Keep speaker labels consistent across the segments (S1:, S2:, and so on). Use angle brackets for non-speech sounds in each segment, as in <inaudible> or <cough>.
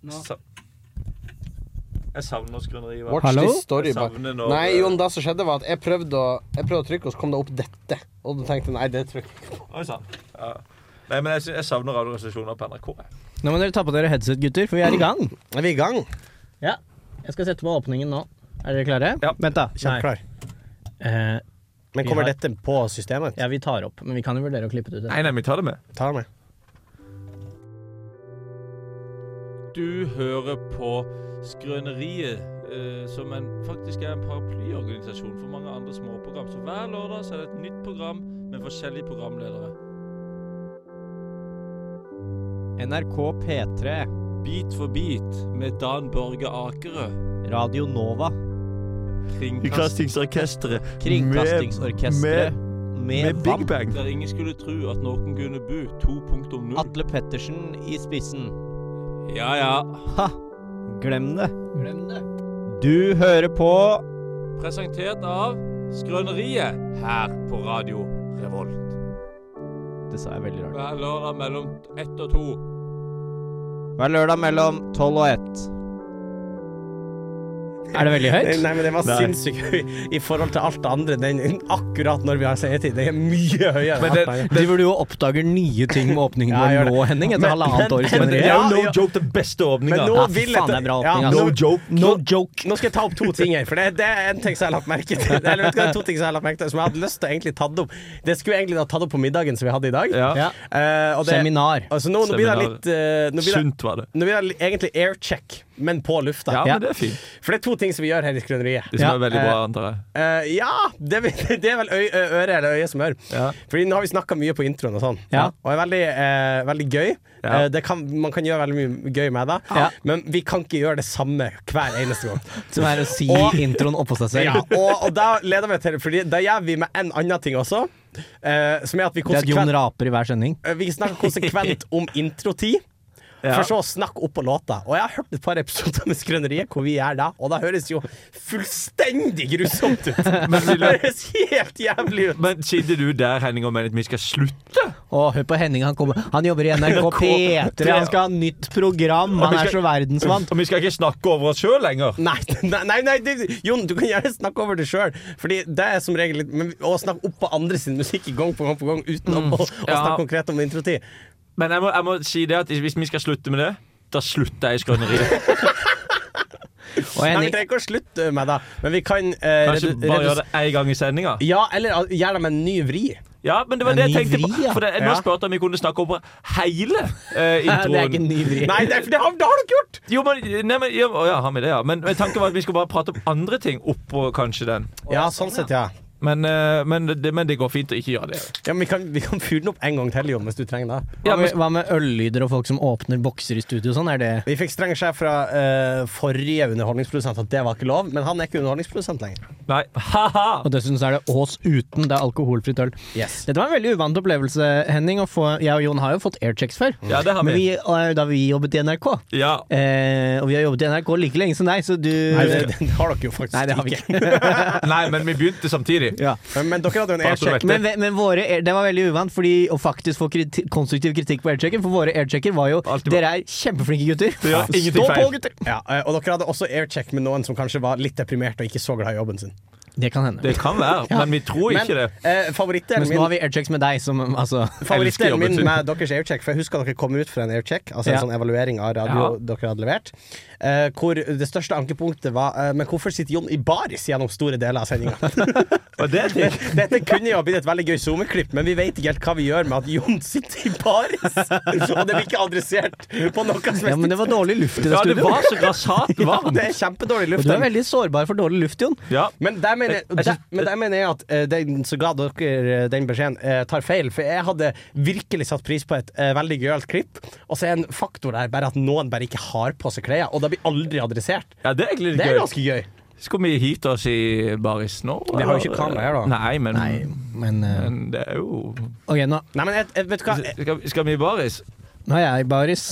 S1: nå.
S2: Sa jeg savner norsk grønneri. hva?
S3: Watch
S4: Hallo?
S3: this story.
S2: Jeg savner når,
S3: Nei, Jon, det som skjedde, var at jeg prøvde å, jeg prøvde å trykke, og så kom det opp dette. Og du tenkte nei, det trykker jeg ikke.
S2: Oi sann. Ja. Nei, men jeg, sy- jeg savner radioresepsjoner på NRK. jeg.
S4: Nå må dere ta på dere headset, gutter, for vi er i gang.
S3: Er vi i gang?
S1: Ja, jeg skal sette på åpningen nå. Er dere klare?
S2: Ja.
S4: Vent, da.
S3: Kjempeklar.
S1: Eh,
S3: Men
S1: Vi
S3: kommer
S1: har-
S3: dette på systemet?
S1: ja, vi tar opp, men vi kan jo vurdere å klippe det ut.
S2: Nei, nei, vi tar det med.
S3: Ta med.
S5: Du hører på Skrøneriet, eh, som en, faktisk er en paraplyorganisasjon for mange andre småprogram. Så hver lørdag så er det et nytt program med forskjellige programledere.
S4: NRK P3.
S5: Bit for bit med Dan Børge Akerø.
S4: Radio Nova.
S5: Kringkast
S2: Kringkastingsorkesteret.
S4: Kringkastingsorkestret. Med,
S2: Med Big
S4: Bang.
S2: Bang.
S5: der ingen skulle tro at noen kunne bo 2.0.
S4: Atle Pettersen i spissen.
S5: Ja ja.
S4: Ha! Glem det.
S1: Glem det.
S4: Du hører på
S5: Presentert av Skrøneriet her på Radio Revolt.
S4: Det sa jeg veldig rart.
S5: Hver lørdag mellom ett og to.
S4: Hver lørdag mellom tolv og ett.
S1: Er det veldig høyt?
S3: Nei, men det var
S2: Nei.
S3: sinnssykt høy i forhold til alt det andre. Den, akkurat når vi har seietid. Det er mye høyere.
S2: Men
S3: enn
S2: det-
S3: alt annet.
S4: Du burde jo oppdage nye ting med åpningen
S3: Ja, jeg gjør
S4: vår nå, Henning. Etter halvannet år i
S2: Men
S4: skrøneriet.
S2: det er jo
S3: Ja,
S2: no
S3: ja.
S2: joke den beste åpninga.
S3: Men nå
S4: Ja, fy
S3: vil jeg
S4: faen, det er bra åpning,
S3: Ja,
S4: altså.
S2: No
S3: nå-
S2: joke.
S3: No
S4: joke.
S3: Nå skal jeg ta opp to ting her, for det, det er en ting som jeg har lagt merke til. Eller vet du hva, det er to ting som jeg har lagt merke til Som jeg hadde lyst til å egentlig tatt opp. Det skulle jeg egentlig ha tatt opp på middagen som vi hadde i dag.
S2: Ja.
S4: Ja.
S3: Eh, og det,
S4: Seminar.
S3: altså nå, nå blir det
S2: Seminar.
S3: litt eh, Nå blir det,
S2: Sunt var det.
S3: nå blir det egentlig aircheck, men på lufta.
S2: Ja,
S4: Ja.
S2: men det er fint.
S3: For det er to ting som vi gjør her i Skrøneriet.
S2: Det som
S4: Ja,
S2: er veldig bra, antar jeg.
S3: Eh, ja, det, <laughs> det er vel øy, ø- øre eller øye som hører.
S2: Ja.
S3: Fordi nå har vi snakka mye på introen og sånn,
S4: Ja.
S3: og er veldig, eh, veldig gøy.
S2: Ja.
S3: Eh, det kan, man kan gjøre veldig mye gøy med det,
S4: Ja.
S3: men vi kan ikke gjøre det samme hver eneste gang.
S4: Som er å si
S3: Og-
S4: introen oppå seg
S3: Ja,
S4: selv.
S3: og, og da leder vi til Fordi da gjør vi med en annen ting også, eh, som er at vi,
S4: Det er at Jon
S3: konsekvent,
S4: raper i hver sending.
S3: eh, vi snakker konsekvent om introtid.
S2: <laughs>
S3: For så å snakke opp på låta. Og jeg har hørt et par episoder med Skrøneriet hvor vi gjør det, og det høres jo fullstendig grusomt ut. Det
S2: <laughs>
S3: høres helt jævlig ut.
S2: Men sitter du der, Henning, og mener at vi skal slutte?
S4: Å, hør på Henning, han kommer Han jobber
S3: <laughs>
S4: i NRK P3, han skal ha nytt program, han er så verdensmann.
S2: Og vi skal ikke snakke over oss sjøl lenger?
S3: Nei, nei, nei, nei det- Jon, du kan gjerne snakke over det sjøl. Fordi det er som regel litt Men å snakke opp på andre sin musikk gang på gang på gang uten å, å, å
S2: Mm. ja.
S3: snakke konkret om introtid
S2: Men jeg må, jeg må si det at hvis vi skal slutte med det, da slutter <laughs> jeg i Skrøneriet.
S4: Og
S3: Nei, vi
S4: Henning,
S3: trenger ikke å slutte med det, men vi kan eh,
S2: Kanskje
S3: redu-
S2: bare
S3: redu-
S2: gjøre det én gang i sendinga.
S3: Ja, eller al- gjør det med en ny vri.
S2: <laughs> Ja, men det var
S4: En
S2: det jeg
S4: ny
S2: tenkte på.
S4: vri, ja.
S2: For det, nå
S3: Ja.
S2: spurte jeg om vi kunne snakke over hele
S3: <laughs>
S2: eh,
S4: Nei, det er ikke en
S2: introen.
S4: ny vri.
S3: Nei, det, det, har, det har du ikke gjort!
S2: Jo, men, nei, men, ja, å, ja, har vi det, ja. Men men tanken var at vi skulle bare prate om andre ting oppå kanskje den.
S3: Ja, sånn sett, ja.
S2: Men, eh, men, det, men det går fint å ikke gjøre det.
S3: ja men vi kan, vi kan fyre den opp en gang til, Jon, hvis du trenger det.
S4: Hva med, hva med øllyder og folk som åpner bokser i studio og sånn? Er det
S3: Vi fikk streng skjef fra eh, forrige underholdningsprodusent at det var ikke lov, men han er ikke underholdningsprodusent lenger.
S2: Nei. Ha-ha!
S4: Og dessuten så er det Ås uten, det er alkoholfritt øl.
S3: Yes.
S4: Dette var en veldig uvant opplevelse, Henning. Å få, jeg og Jon har jo fått airchecks før.
S2: Ja, det har
S4: Men
S2: vi.
S4: vi, eh, da vi jobbet i NRK.
S3: <laughs>
S2: Ja.
S4: Eh, og vi har jobbet i NRK like lenge som deg, så du
S3: Nei, det, det har dere jo faktisk
S4: Nei, det har vi
S3: ikke.
S4: ikke.
S2: Nei, men vi begynte samtidig.
S4: <laughs> ja.
S3: Men, men dere hadde jo en
S2: Bare så du
S3: aircheck.
S2: vet.
S4: Men, men våre, air- det var veldig uvant fordi å faktisk få kriti konstruktiv kritikk på airchecken, for våre airchecker var jo
S2: Alltid bra.
S4: Dere er kjempeflinke gutter.
S2: Ja, ingenting
S4: Stå på,
S2: feil.
S4: gutter!
S3: Ja, eh, og dere hadde også aircheck med noen som kanskje var litt deprimert og ikke så glad i jobben sin.
S4: Det kan hende.
S2: Det kan være, men vi tror ikke det.
S3: eh, favorittdelen
S4: Mens nå har
S3: min,
S4: vi airchecks med deg, som altså
S2: elsker
S3: favorittdelen
S2: jobben
S3: min
S2: sin.
S3: med deres aircheck, for jeg husker dere kom ut fra en aircheck, altså
S4: Ja.
S3: en sånn evaluering av radio
S2: Ja.
S3: dere hadde levert, eh, hvor det største ankepunktet var eh, Men hvorfor sitter Jon i baris gjennom store deler av sendinga?
S2: <laughs> Og det er ting.
S3: <laughs> Dette kunne jo ha blitt et veldig gøy zoomeklipp, men vi vet ikke helt hva vi gjør med at Jon sitter i baris. <laughs> Og det blir ikke adressert på noe som helst.
S4: Ja, men det var dårlig luft i det
S2: Ja, det
S4: studioet.
S2: var så
S3: <laughs>
S2: grassat varmt.
S3: det er kjempedårlig
S4: Og
S3: luft.
S4: du er veldig sårbar for dårlig luft, Jon.
S2: Ja.
S3: Men der mener, jeg-
S2: Jeg- jeg
S3: der,
S2: synes-
S3: men der mener jeg at eh, den som ga dere eh, den beskjeden, eh, tar feil. For jeg hadde virkelig satt pris på et eh, veldig gøyalt klipp, og så er en faktor der bare at noen bare ikke har på seg klær, og det blir aldri adressert.
S2: ja, det er egentlig litt
S3: Det er
S2: gøy.
S3: ganske gøy.
S2: Skal vi hit oss i baris nå?
S3: Vi har jo
S2: eller?
S3: ikke kamera her, da.
S2: Nei, men,
S4: Nei, men eh,
S2: men det er jo
S4: OK, nå,
S3: Nei, men jeg, jeg, vet du hva? Jeg,
S2: Skal, skal vi i baris?
S4: nå er jeg i baris.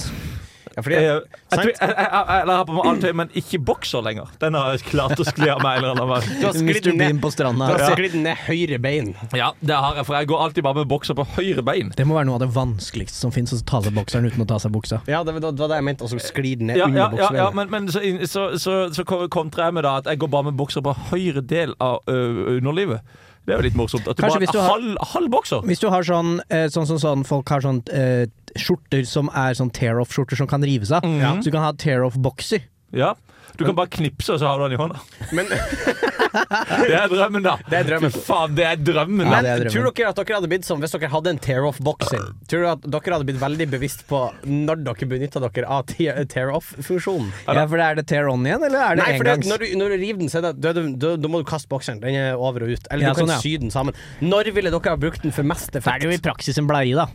S3: Ja,
S2: Jeg,
S3: fordi,
S2: jeg, jeg, tror- jeg, jeg, jeg, jeg har på meg alt tøy, men ikke bokser lenger. Den har jeg klart å skli av meg. en eller annen vei.
S3: du har sklidd
S4: Mr. Bean
S3: ned,
S4: på stranda.
S3: du har
S4: Ja.
S3: sklidd ned høyre bein.
S2: Ja, det har jeg, for jeg går alltid bare med bokser på høyre bein.
S4: Det må være noe av det vanskeligste som fins, å ta seg bokseren uten å ta seg buksa.
S3: Ja, det var det var det jeg mente. Og så sklir den ned
S2: Ja, ja,
S3: under
S2: ja,
S3: buksebenet.
S2: ja men, men så, inn- så, så, så kom- kontrer jeg med da at jeg går bare med bokser på høyre del av ø, underlivet. Det er jo litt morsomt. At du
S4: Kanskje
S2: bare
S4: hvis du har-
S2: halv, halv bokser.
S4: Hvis du har sånn, eh, sånn som sånn, folk har sånn eh, skjorter som er sånn tear-off-skjorter som kan rives av,
S2: Mhm.
S4: så du kan ha tear-off-bokser.
S2: Ja. Du kan bare knipse, og så har du den i hånda.
S3: Men-
S2: Det er drømmen, da.
S3: Det er drømmen.
S2: Fy faen, det er drømmen.
S4: Ja,
S2: da.
S3: Men
S4: det er drømmen.
S3: tror dere at dere hadde blitt sånn hvis dere hadde en tear-off-bokser? Tror dere at dere hadde blitt veldig bevisst på når dere benytta dere av te- tear-off-funksjonen?
S4: Ja, for det er det tear-on igjen, eller er det
S3: Nei, for det,
S4: engangs?
S3: når, du, når du river den, så er det, da, er det- da, da må du kaste bokseren. Den er over og ut. Eller
S4: Ja,
S3: du kan
S4: sånn, ja.
S3: sy den sammen. Når ville dere ha brukt den for mest
S4: Det er
S3: effekt?
S4: det jo i praksis en bleie, da.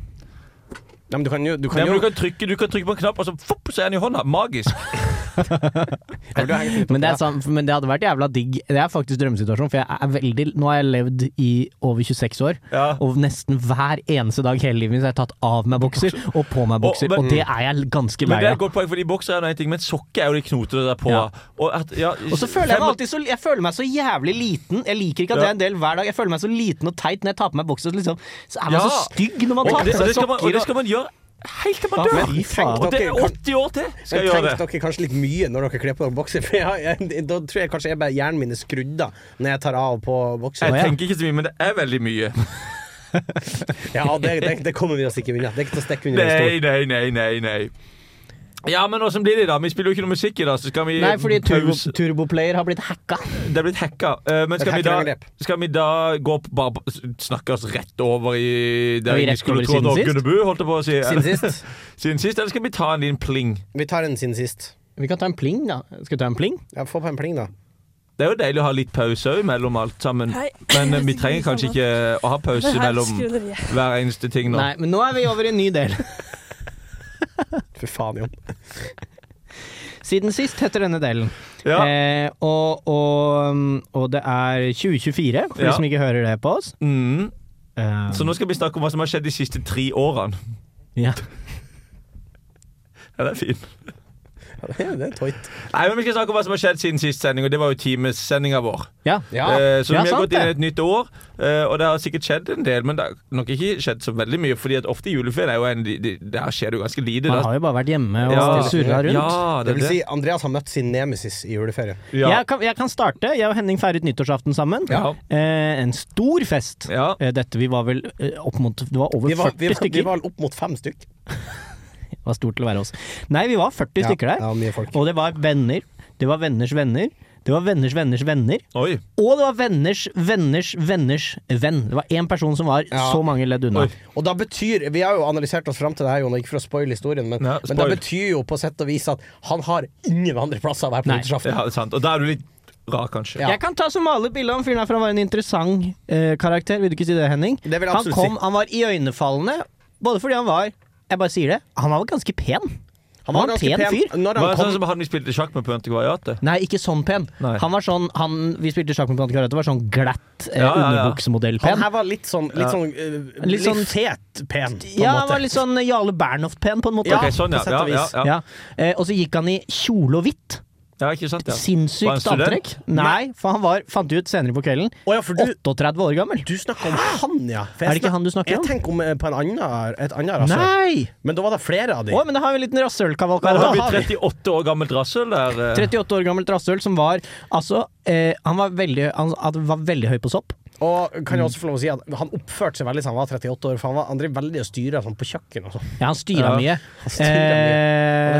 S3: Nei, men du kan jo, du
S2: Nei,
S3: kan
S2: men
S3: jo
S2: du, kan trykke, du kan trykke på en knapp, og så, fopp, så er den i hånda. Magisk.
S3: Jeg vil ha hengt litt opp
S4: Men det,
S3: i
S4: er sant, men det hadde vært jævla digg. Det er faktisk drømmesituasjon, for jeg er veldig Nå har jeg levd i over 26 år,
S2: Ja.
S4: og nesten hver eneste dag hele livet mitt så har jeg tatt av meg bokser og på meg bokser,
S2: men-
S4: og det er jeg ganske
S2: Men
S4: lei
S2: det er
S4: av.
S2: et godt poeng, fordi bokser er jo en ting, men sokker er jo de knotete der på.
S4: Ja.
S2: Og, at, ja,
S4: Og så føler jeg
S2: fem-
S4: meg alltid så Jeg føler meg så jævlig liten. Jeg liker ikke at det er en del hver dag. Jeg føler meg så liten og teit når jeg tar på meg bokser. Så, liksom, så er man
S2: Ja.
S4: så stygg når man
S2: og
S4: tar
S2: det,
S4: på
S2: og
S4: seg
S2: det skal man, og
S4: sokker.
S2: det skal man gjøre helt til man
S4: Hva
S2: dør.
S4: fy faen?
S2: Og det er
S3: Dere kan-
S2: 80 år til skal jeg
S3: Men
S2: gjøre
S3: tenk
S2: det.
S3: dere kanskje litt mye når dere kler på dere bokser, for jeg, har- jeg, da tror jeg kanskje jeg bare hjernen min er skrudd av når jeg tar av og på bokser.
S2: Jeg
S4: ja.
S2: tenker ikke så mye, men det er veldig mye.
S3: <laughs> Ja, det, det, det kommer vi oss ikke unna. Det er ikke til å stikke under en
S2: Nei,
S3: stol.
S2: nei, nei, nei, nei. Ja, men åssen blir det, da? Vi spiller jo ikke noe musikk i dag, så skal vi
S4: Nei, fordi turbo,
S2: pause.
S4: Turboplayer har blitt hacka.
S2: Det er blitt hacka. Eh, Men skal
S3: Et
S2: vi, da,
S3: hackerangrep.
S2: skal vi da gå opp bare på- snakke oss rett over i
S4: Er
S2: der
S4: vi
S2: vi
S4: rett
S2: skulle
S4: over
S2: tro at
S4: siden sist?
S2: Åge Nebu holdt jeg på å si.
S3: Siden sist.
S2: Siden sist, Eller skal vi ta en liten pling?
S3: Vi tar en siden sist.
S4: Vi kan ta en pling, da. Skal vi ta en pling?
S3: Ja, få på en pling, da.
S2: Det er jo deilig å ha litt pause òg mellom alt sammen.
S6: Hei. <laughs>
S2: Men
S7: <laughs>
S2: eh, vi trenger kanskje ikke å ha pause
S6: Det her
S2: mellom
S6: skrøneriet.
S2: hver eneste ting nå.
S4: Nei, men nå er vi over i en ny
S2: <laughs>
S4: del.
S3: For faen, Jon. <laughs>
S4: Siden sist heter denne delen.
S2: Ja.
S4: Eh, og, og, og det er 2024, for
S2: Ja.
S4: de som ikke hører det på oss.
S2: Mm.
S4: Eh,
S2: Så nå skal vi snakke om hva som har skjedd de siste tre årene. <laughs>
S4: ja.
S2: Ja, det er fint.
S3: Ja, det er- det er tøyt.
S2: Nei, men Vi skal snakke om hva som har skjedd siden sist sending, og det var jo timesendinga vår.
S4: ja.
S2: Eh,
S4: Ja,
S2: så vi har
S4: sant
S2: gått inn i
S4: det.
S2: et nytt år, eh, og det har sikkert skjedd en del. Men det har nok ikke skjedd så veldig mye, Fordi at ofte i juleferien er jo en, de, de, der skjer det jo ganske lite.
S4: Man
S2: da.
S4: har jo bare vært hjemme og
S2: Ja.
S4: surra rundt.
S2: Ja, det
S3: Det
S2: er
S3: vil
S2: det.
S3: si, Andreas har møtt sin nemesis i juleferien.
S2: Ja.
S4: Jeg, kan, jeg kan starte. Jeg og Henning feiret nyttårsaften sammen.
S2: Ja.
S4: Eh, en stor fest.
S2: Ja.
S4: Eh, dette vi var vel eh, opp mot Det var over
S3: Vi var,
S4: 40
S3: vi, var,
S4: stykker.
S3: vi var opp mot fem stykk.
S4: Det var stort til å være oss. Nei, vi var 40 stykker der.
S3: Ja, mye folk.
S4: Og det var venner. Det var venners venner. Det var venners venners venner.
S2: Oi.
S4: Og det var venners venners venners venn. Det var én person som var
S3: Ja.
S4: så mange ledd unna.
S2: Oi.
S3: Og da betyr, Vi har jo analysert oss fram til det her, Jon, og ikke for å spoile historien, men,
S2: Ja,
S3: men det
S2: spoil.
S3: betyr jo på sett og vis at han har ingen andre plasser å være på
S4: Nei.
S3: nyttårsaften.
S2: Ja, det er sant. Og da er du litt rar, kanskje.
S3: Ja.
S4: Jeg kan ta som maler bildet av han fyren her, for han var en interessant eh, karakter. Vil du ikke si det, Henning?
S3: Det vil jeg
S4: han
S3: absolutt
S4: kom, han var iøynefallende, både fordi han var Jeg bare sier det, han var ganske pen. Han var en pen fyr.
S2: Var
S3: Når han
S2: det sånn
S3: kom,
S2: som han vi spilte sjakk med på Antikvariatet?
S4: Nei, ikke sånn pen.
S2: Nei.
S4: Han var sånn, han vi spilte sjakk med på Antikarate, var sånn glatt eh,
S2: Ja, ja, ja.
S4: underbuksemodell-pen.
S3: han her var litt sånn Litt
S2: Ja.
S3: sånn,
S4: Litt
S3: eh, litt
S4: sånn-
S3: fet pen, på en
S4: Ja, han
S3: måte.
S4: var litt sånn Jarle Bernhoft-pen, på en måte.
S2: Ok, sånn, ja.
S3: på sett og
S2: ja,
S3: vis.
S2: ja, ja.
S4: Ja. Eh, og så gikk han i kjole og hvitt.
S2: ja, ikke sant? Ja. Var han
S4: Sinnssykt
S2: student?
S4: antrekk. Nei, for han var, fant vi ut senere på kvelden,
S3: Å ja, for du,
S4: 38 år gammel.
S3: du snakker om han, ja. For jeg
S4: Er det ikke
S3: snak-
S4: han du snakker om?
S3: Jeg tenker om eh, på en annen, et annet rasshøl.
S4: Nei!
S3: Men da var det flere av de.
S4: Å, men da har vi en liten
S2: Men
S4: rasshølkavalkade.
S2: har
S4: da.
S2: vi 38 år gammelt rasshøl der? eh?
S4: 38 år gammelt rasshøl som var Altså, eh, han, var veldig, han, han var veldig høy på sopp.
S3: Og kan jeg også få lov å si at han oppførte seg veldig som han var 38 år, for han var André veldig å styre sånn på kjøkken og sånn.
S4: Ja, han styra
S2: Ja,
S4: mye.
S3: han styret mye. Og det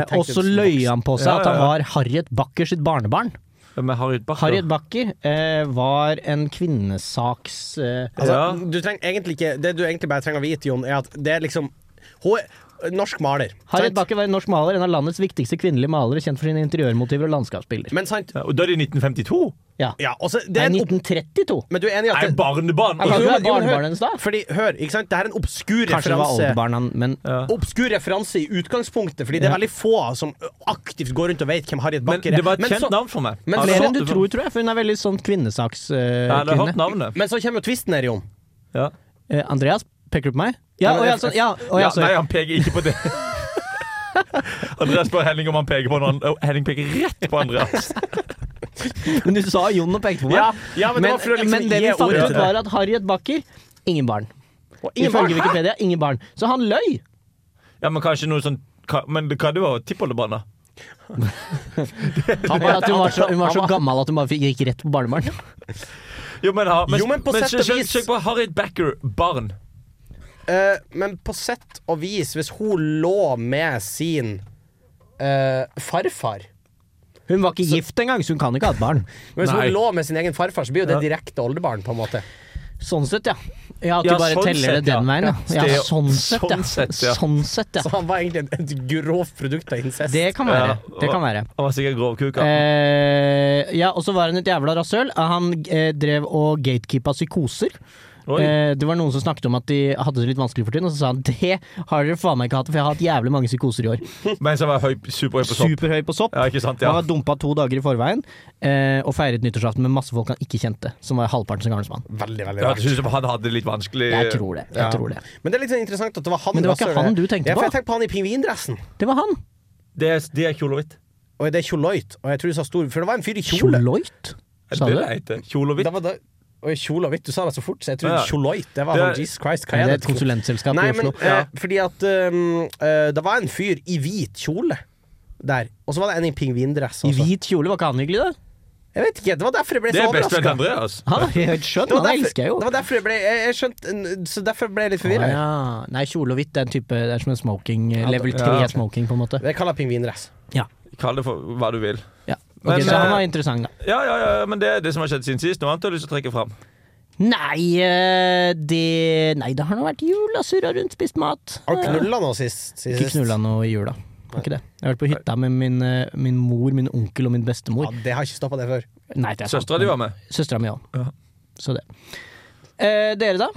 S4: Eh,
S3: tenkte
S4: og så
S3: jeg som
S4: løy
S3: voksen.
S4: han på seg
S2: Ja,
S4: at han
S2: ja, ja.
S4: var Harriet Bakker sitt barnebarn.
S2: Med Harriet Backer.
S4: Harriet Bakker eh, var en kvinnesaks... Eh,
S3: Altså,
S2: Ja.
S3: du trenger egentlig ikke Det du egentlig bare trenger å vite, Jon, er at det er liksom Hun er norsk maler.
S4: Harriet
S3: sant?
S4: Bakker var en norsk maler, en av landets viktigste kvinnelige malere, kjent for sine interiørmotiver og landskapsbilder.
S3: Men sant?
S2: Ja, og da er det 1952?
S4: Ja.
S3: Ja, og så det
S4: Nei,
S3: er en opp...
S4: 1932.
S3: Men du er enig i
S2: Nei,
S3: at det,
S2: barnebarn!
S4: Jeg kan
S3: Jo,
S4: ikke
S3: men-
S4: være
S3: jo, men hør.
S4: barnebarnet hennes da.
S3: Fordi, hør, ikke sant? Det her er en obskur
S4: Kanskje det var
S3: referanse.
S4: oldebarnet han, men
S2: Ja.
S3: Obskur referanse i utgangspunktet, fordi det er
S4: Ja.
S3: veldig få som aktivt går rundt og vet hvem Harriet
S2: Men
S3: Bakker er.
S2: det var et kjent
S3: så,
S2: navn for meg.
S3: men
S4: flere
S2: Altså,
S4: enn du
S2: det var-
S4: tror, tror jeg, for hun er veldig sånn eh,
S2: Jeg hadde hørt
S4: kvinnesakskvinne.
S2: navnet.
S3: men så kommer jo tvisten her, Jon.
S2: Ja.
S4: Eh, Andreas peker du på meg? Ja, å
S3: Ja, men
S4: ja,
S3: jeg-
S4: sånn, ja, å ja,
S2: ja,
S4: sorry.
S2: nei, han peker ikke på det. Andreas spør Henning om han peker på noen. Og Henning peker rett på Andreas.
S4: Men du sa Jon og pekte på meg.
S3: Ja, ja, men, det
S4: men,
S3: var for å liksom
S4: men det
S3: gi
S4: vi fant
S3: ordet
S4: ut,
S3: til det.
S4: var at Harriet Bakker ingen barn.
S3: Og ingen
S4: Ifølge
S3: barn. Hæ?
S4: Wikipedia ingen barn. Så han løy!
S2: Ja, men kanskje noe sånn ka- Men det kan jo være tippoldebarn, da.
S3: Han
S4: Bare
S3: var-
S4: at hun var så, hun var så
S3: han var-
S4: gammel at hun bare fikk- gikk rett på barnebarn.
S2: Jo, men, ha, men,
S3: Jo, men på sett og
S2: søk-
S3: vis-
S2: Søk på Harriet Backer barn.
S3: Eh, men på sett og vis, hvis hun lå med sin eh, farfar
S4: Hun var ikke gift engang, så hun kan ikke ha et barn.
S3: Men Hvis
S2: Nei.
S3: hun lå med sin egen farfar, så blir jo det direkte oldebarn, på en måte.
S4: Sånn sett, ja. Ja, At du
S2: Ja,
S4: bare
S2: sånn
S4: teller det
S2: sett, ja.
S4: den veien, ja. ja
S2: Det-
S4: sånn sett, ja.
S2: sånn sett, ja.
S4: Sånn sett,
S3: Så
S4: ja.
S3: han var egentlig et, et grovt produkt av incest.
S4: Det kan være.
S2: Ja,
S4: Det kan være.
S2: Han var sikkert grovkuka.
S4: Eh, ja, og så var han et jævla rasøl. Han eh, drev og gatekeepa psykoser.
S2: Oi.
S4: Eh, det var noen som snakket om at de hadde det litt vanskelig for tiden, og så sa han det har dere faen meg ikke hatt, for jeg har hatt jævlig mange psykoser i år.
S2: Mens han var høy, superhøy på sopp.
S4: Superhøy på sopp.
S2: Ja, ikke sant?
S4: Han
S2: Ja.
S4: var dumpa to dager i forveien, eh, og feiret nyttårsaften med masse folk han ikke kjente, som var halvparten så gammel som han.
S3: Veldig, veldig
S2: Ja,
S3: rart.
S2: jeg synes han hadde det litt vanskelig.
S4: Jeg tror det. Jeg
S3: Ja.
S4: tror det.
S3: Men det er litt sånn interessant at det var han
S4: Men det var ikke
S3: rasshølet.
S4: han du tenkte
S3: ja, for
S4: på.
S3: Jeg tenkte på han i pingvindressen.
S4: Det var han.
S2: Det er, det er kjole og hvitt.
S3: Og det er kjoloit. Og jeg tror du sa stor For det var en fyr i kjole.
S4: Kjoloit?
S2: Er
S4: Sa
S2: det
S4: du
S2: det
S4: det?
S2: heter? Kjole og
S3: Det
S2: hvitt?
S3: var da og kjole og hvitt. Du sa det så fort, så jeg
S2: Ja.
S3: trodde kjoloit. Det var
S2: Det-
S3: sånn Jesus Christ, hva
S4: Er
S3: er
S4: det
S3: det?
S4: et konsulentsselskap
S3: Nei,
S4: i
S3: men
S4: Oslo?
S3: eh, fordi at um, eh, det var en fyr i hvit kjole der. Og så var det en i pingvindress.
S4: I
S3: også.
S4: hvit kjole, var ikke han hyggelig, da?
S3: Jeg vet ikke, Det var derfor jeg ble
S2: Det
S3: så
S2: er bestevenn
S3: overraska.
S2: Andreas.
S4: Han er helt
S3: <laughs>
S4: skjønn,
S3: Det
S4: han
S3: var derfor,
S4: elsker jeg jo.
S3: det var derfor jeg ble jeg, jeg skjønte, Så derfor ble jeg litt
S4: Å,
S3: forvirra.
S4: ja. Nei, kjole og hvitt det er en type Det er som en smoking, eh, level
S2: Ja.
S4: 3 smoking, på en måte.
S3: Jeg kaller det pingvindress.
S2: Altså, Kall det for hva du vil.
S4: Ja. Ok,
S2: Men,
S4: så han
S2: eh,
S4: var interessant, da.
S2: Ja, ja, ja, men det er det som har skjedd siden sist. Noe annet du har lyst til å trekke fram?
S4: Nei, eh, det Nei, det har nå vært jul, da. Surra rundt, spist mat.
S3: Har du
S4: Eh,
S3: knulla nå sist? sist-
S4: Ikke knulla noe i jula. Har Ikke det. Jeg har vært på hytta med min, eh, min mor, min onkel og min bestemor.
S3: Ja, det har ikke stoppa det før.
S4: Nei, det er sant.
S2: Søstera di var med.
S4: Søstera mi òg.
S2: Ja.
S4: Så det. Eh, dere, da?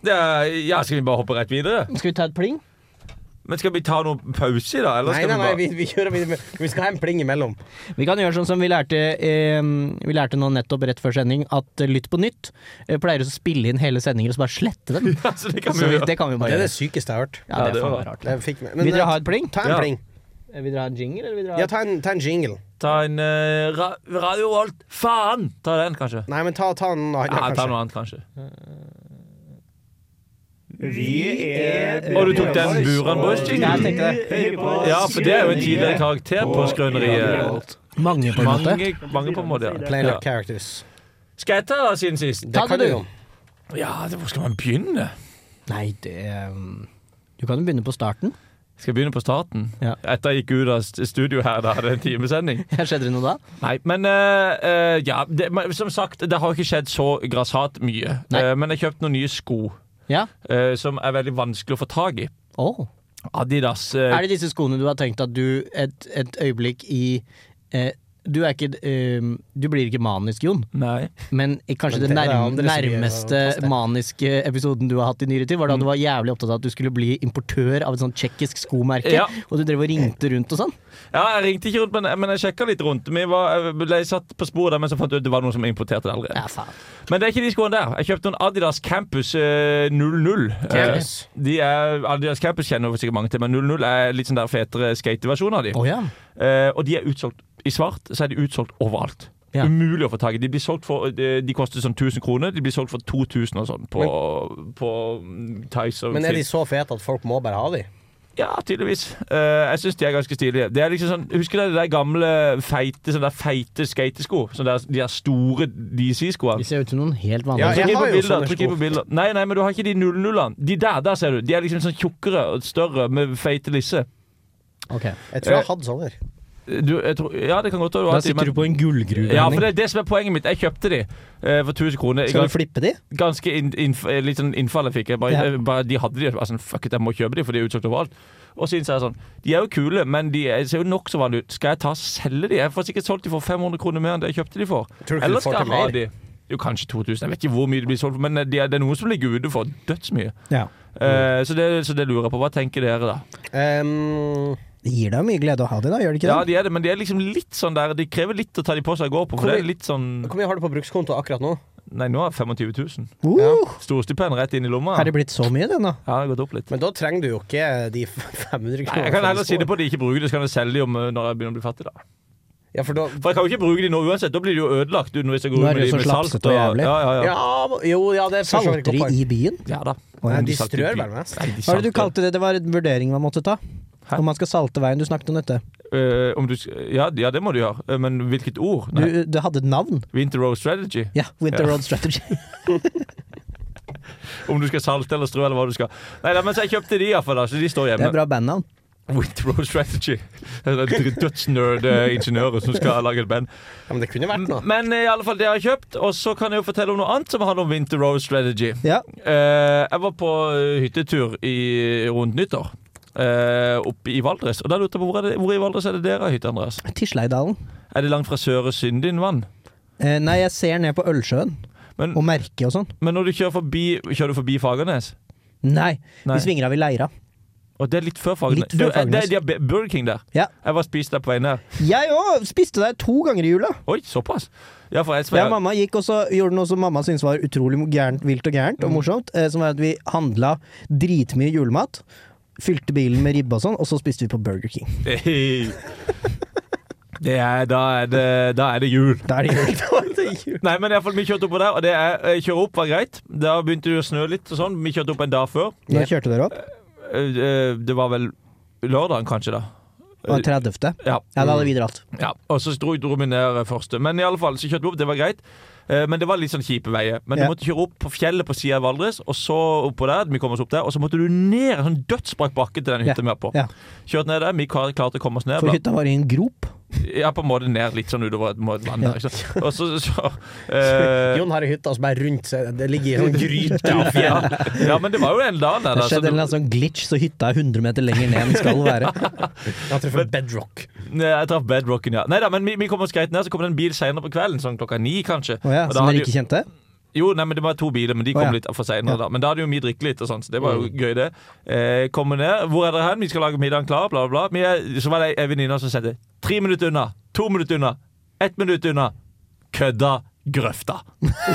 S2: Det er, ja, Skal vi bare hoppe rett videre?
S4: Skal vi ta et pling?
S2: Men Skal vi ta noen pause i dag? Eller
S3: Nei,
S2: skal
S3: nei, nei,
S2: vi
S3: vi, vi kjører videre. med- Vi skal ha en pling imellom.
S4: Vi kan gjøre sånn som vi lærte, eh, vi lærte nå nettopp rett før sending, at eh, Lytt på nytt eh, pleier å spille inn hele sendinger og så bare slette dem.
S2: bare <laughs> ja, så det kan
S4: Så
S2: vi
S4: Altså, vi,
S2: gjøre.
S4: det kan vi
S3: Det
S4: bare
S3: er det
S4: gjøre.
S3: sykeste jeg har hørt.
S4: Ja,
S2: Ja,
S4: det
S2: det
S4: er faen
S2: var-
S4: meg rart.
S3: Jeg fikk med- men,
S4: Vil dere
S3: eh,
S4: ha et pling?
S3: Ta en
S2: Ja.
S3: pling.
S4: Eh, Vil dere ha en jingle, eller vil dere ha
S3: Ja, ta en, ta en jingle.
S2: Ta en eh, ra Radio Volt. Faen! Ta den, kanskje.
S3: Nei, men ta, ta en
S2: Ja,
S3: annen,
S2: ta
S3: kanskje.
S2: noe annet, kanskje.
S6: Vi er
S2: Og du tok den Buran
S4: Ja, jeg
S2: Boys-jinglen?
S4: tenkte det.
S2: Ja, for det er jo en tidligere karakter på Skrøneriet.
S4: Mange, på en måte.
S2: Mange, mange på en måte, ja.
S3: Plain
S2: ja.
S3: of characters.
S2: Skal jeg ta da, siden sist?
S3: Det
S4: Ta
S3: kan
S4: det,
S3: du
S4: du.
S3: jo.
S2: Ja, det- hvor skal man begynne?
S4: Nei, det um, Du kan jo begynne på starten. <laughs>
S2: Skal jeg begynne på starten?
S4: Ja.
S2: Etter jeg gikk ut av st- studio her, da hadde jeg en timesending.
S4: Skjedde det noe da?
S2: Nei, men eh, eh, ja, det, men som sagt, det har ikke skjedd så grassat mye.
S4: Nei.
S2: Eh, men jeg kjøpte noen nye sko
S4: Ja.
S2: eh, som er veldig vanskelig å få tak i.
S4: Åh.
S2: Adidas. eh,
S4: Er det disse skoene du har tenkt at du et, et øyeblikk i eh, Du er ikke um, Du blir ikke manisk, Jon,
S2: Nei.
S4: men i kanskje
S3: Men
S4: det
S3: det er
S4: nærm,
S3: andre som gjør det,
S4: nærmeste
S3: pass deg.
S4: maniske episoden du har hatt i nyere tid, var da du var jævlig opptatt av at du skulle bli importør av et sånt tsjekkisk skomerke,
S2: Ja.
S4: og du drev og ringte rundt og sånn.
S2: Ja, jeg ringte ikke rundt, men, men jeg sjekka litt rundt. Vi var, jeg ble satt på sporet der, men så fant jeg ut det var noen som importerte det allerede.
S4: Ja, faen.
S2: Men det er ikke de skoene der. Jeg kjøpte noen Adidas Campus eh, 00. Eh,
S3: Campus.
S2: de er, Adidas Campus kjenner sikkert mange til, men 00 er litt sånn der fetere skateversjon av de.
S4: Å ja.
S2: Eh, og de er utsolgt i svart, så er de utsolgt overalt.
S4: Ja.
S2: Umulig å få tak i. De blir solgt for De, de koster sånn 1000 kroner. De blir solgt for 2000 og sånn på, på mm, Tice og
S3: Men er de
S2: Finn.
S3: så fete at folk må bare ha de?
S2: Ja, tydeligvis. Eh, jeg syns de er ganske stilige. Det er liksom sånn, Husker dere de der gamle, feite sånne der feite skatesko? Sånne der, de der store DC-skoene?
S4: De ser ut som noen helt
S3: Ja,
S4: vanlige
S3: jeg
S2: Trykk inn
S3: har
S2: på
S3: jo
S2: bilder.
S3: sånne
S2: Trykk inn
S3: sko.
S2: på bilder. Nei, nei, men du har ikke de 00-ene. De der, der ser du. De er liksom sånn tjukkere og større med feite lisse.
S4: Ok.
S3: Jeg tror jeg hadde sånne.
S2: Du, jeg tror, ja, det kan godt være du
S4: Da
S2: har de, men-
S4: sitter du på en gullgruve.
S2: Ja, for
S4: Henning.
S2: det er det som er poenget mitt. Jeg kjøpte de eh, for 1000 kroner.
S4: Skal du
S2: Gans,
S4: flippe de?
S2: ganske inn, innf- eh, litt sånn innfall jeg fikk. Jeg bare,
S4: Ja.
S2: jeg bare, de hadde de. Altså, fuck it, jeg må kjøpe de, for de er utsolgt overalt. Og så innså jeg sånn De er jo kule, men de er- ser jo nokså vanlige ut. Skal jeg ta og selge de? Jeg får sikkert solgt de for 500 kroner mer enn det jeg kjøpte de for.
S3: Tror du ikke
S2: Eller
S3: du får
S2: skal jeg
S3: til
S2: ha
S3: mer?
S2: de? Jo, kanskje 2000. Jeg vet ikke hvor mye de blir solgt for, men eh, de er, det er noen som ligger ute for dødsmye.
S4: Ja. Mm.
S2: Eh, så, det, så det lurer jeg på. Hva tenker dere, da?
S3: Um,
S4: Det gir deg mye glede å ha de, da, gjør det ikke
S2: Ja,
S4: det?
S2: de er det, men de er liksom litt sånn der De krever litt å ta de på seg og gå på, for
S3: Hvor
S2: det er
S3: mye-
S2: litt sånn
S3: hvor mye har du på brukskonto akkurat nå?
S2: Nei, nå har jeg 25 000.
S4: Uh,
S2: Storstipend rett inn i lomma.
S4: Har det blitt så mye, det nå?
S2: Ja, det har gått opp litt.
S3: Men da trenger du jo ikke de <laughs> 500
S2: Nei,
S3: kronene.
S2: jeg kan heller si
S3: for
S2: det på at jeg ikke bruker det, så kan jeg selge det om, eh, når jeg begynner å bli fattig. da
S3: Ja, for da
S2: For jeg kan jo ikke bruke de nå uansett. Da blir de jo ødelagt. Du, hvis jeg går
S4: Nå
S2: ut
S4: er
S2: med
S4: det
S2: de
S4: jo
S2: med
S4: så
S2: salt
S4: slapsete og jævlig.
S2: Ja, ja, ja.
S3: ja, Jo, ja, det er for så vidt
S4: Saltere
S3: godt poeng.
S4: i byen?
S2: ja da.
S3: Nei, de strør vel mest.
S2: Nei, de
S4: Hva var det du
S2: salter.
S4: kalte det? Det var en vurdering man måtte ta?
S2: Hæ?
S4: Om man skal salte veien. Du snakket om dette.
S2: Eh, om du, sk- ja, ja, det må du gjøre. Eh, Men hvilket ord?
S4: Du,
S2: Nei.
S4: du hadde et navn.
S2: Winter Road Strategy.
S4: Ja, Winter
S2: Ja.
S4: Road
S2: <laughs>
S4: Strategy.
S2: Om du skal salte eller strø eller hva du skal. Nei, nei men så jeg kjøpte de iallfall, da. Så de står
S4: Det er
S2: hjemme.
S4: bra bandnavn.
S2: Winter Road Strategy. Den dødsnerd-ingeniøren som skal lage et band.
S3: Ja, men det kunne
S4: Mm.
S3: vært noe.
S2: Men eh, i alle fall, det har jeg kjøpt. Og så kan jeg jo fortelle om noe annet som handler om Winter Road Strategy.
S4: Ja.
S2: Eh, jeg var på eh, hyttetur i, rundt nyttår. eh, oppe i Valdres. Og da lurte jeg på hvor, er det, hvor i Valdres er det dere har hytte, Andreas?
S4: Tisleidalen.
S2: Er det langt fra Søre Syndinvann?
S4: Eh, nei, jeg ser ned på Ølsjøen
S2: Men,
S4: og merket og sånn.
S2: men når du kjører forbi Kjører du forbi Fagernes?
S4: Nei,
S2: Nei.
S4: vi svinger av i Leira.
S2: Og det er litt før Fagernes.
S4: Litt før
S2: Du, eh, det,
S4: Fagernes.
S2: de har B- Burger King der.
S4: Ja.
S2: Jeg var og spiste der på veien der.
S4: Jeg òg spiste der to ganger i jula.
S2: Oi, såpass? Ja, for jeg,
S4: Ja, mamma gikk og så gjorde noe som mamma syntes var utrolig gærent, vilt og gærent
S2: Mm.
S4: og morsomt. Eh, som var at vi handla dritmye julemat. Fylte bilen med ribbe og sånn, og så spiste vi på Burger King.
S2: Hei. Det er, da, er det, da er det jul.
S4: Da er det
S2: <laughs>
S4: jul.
S2: Nei, men i alle fall, vi kjørte opp på der, og det er, eh, kjøre opp var greit. Da begynte det å snø litt og sånn. Vi kjørte opp en dag før.
S4: Når kjørte dere opp?
S2: Eh, eh, Det var vel lørdagen, kanskje, da.
S4: Det var 30.
S2: Ja.
S4: Ja, da hadde vi dratt.
S2: ja. Og så dro, dro vi ned eh, første. Men i alle fall, så kjørte vi opp, det var greit. Eh, Men det var litt sånn kjipe veier. Men
S4: Ja.
S2: du måtte kjøre opp på fjellet på sida av Valdres, og så oppå der, vi kom oss opp der, og så måtte du ned en sånn dødsbratt bakke til den
S4: Ja.
S2: hytta vi er på.
S4: Ja.
S2: Kjørte ned der, vi klar- klarte å komme oss ned.
S4: For
S2: blant-
S4: hytta var i en grop.
S2: Ja, på en måte ned litt sånn utover et må- et land der. ikke sant? Og så,
S4: <laughs>
S2: så eh,
S3: Jon har ei hytte som er rundt seg. Det ligger i en sånn
S2: <laughs>
S3: gryte av fjell.
S2: ja. ja, men det var jo en dag der.
S4: Det
S2: da, så
S4: skjedde en
S2: det-
S4: eller annen sånn glitch, så hytta er 100 meter lenger ned enn den skal være.
S2: <laughs>
S3: Jeg treffer bedrock.
S2: Nei, Jeg traff bedrocken, ja. Neida, men vi, vi kom oss greit ned, så kom det en bil senere på kvelden, sånn klokka ni kanskje.
S4: Å ja,
S2: Og da
S4: som
S2: hadde
S4: dere ikke kjente?
S2: Jo, nei, men det var to biler, men de kom
S4: Å, ja.
S2: litt for senere
S4: Ja. Mm.
S2: da. Men da hadde jo vi drikket litt og sånn, så det var jo gøy det. Eh, kommer ned, hvor er dere hen? Vi skal lage middagen klar, bla bla bla. Vi er- så var det en venninne som sette, tre minutter unna, to minutter unna, ett minutt unna, kødda, grøfta. <laughs>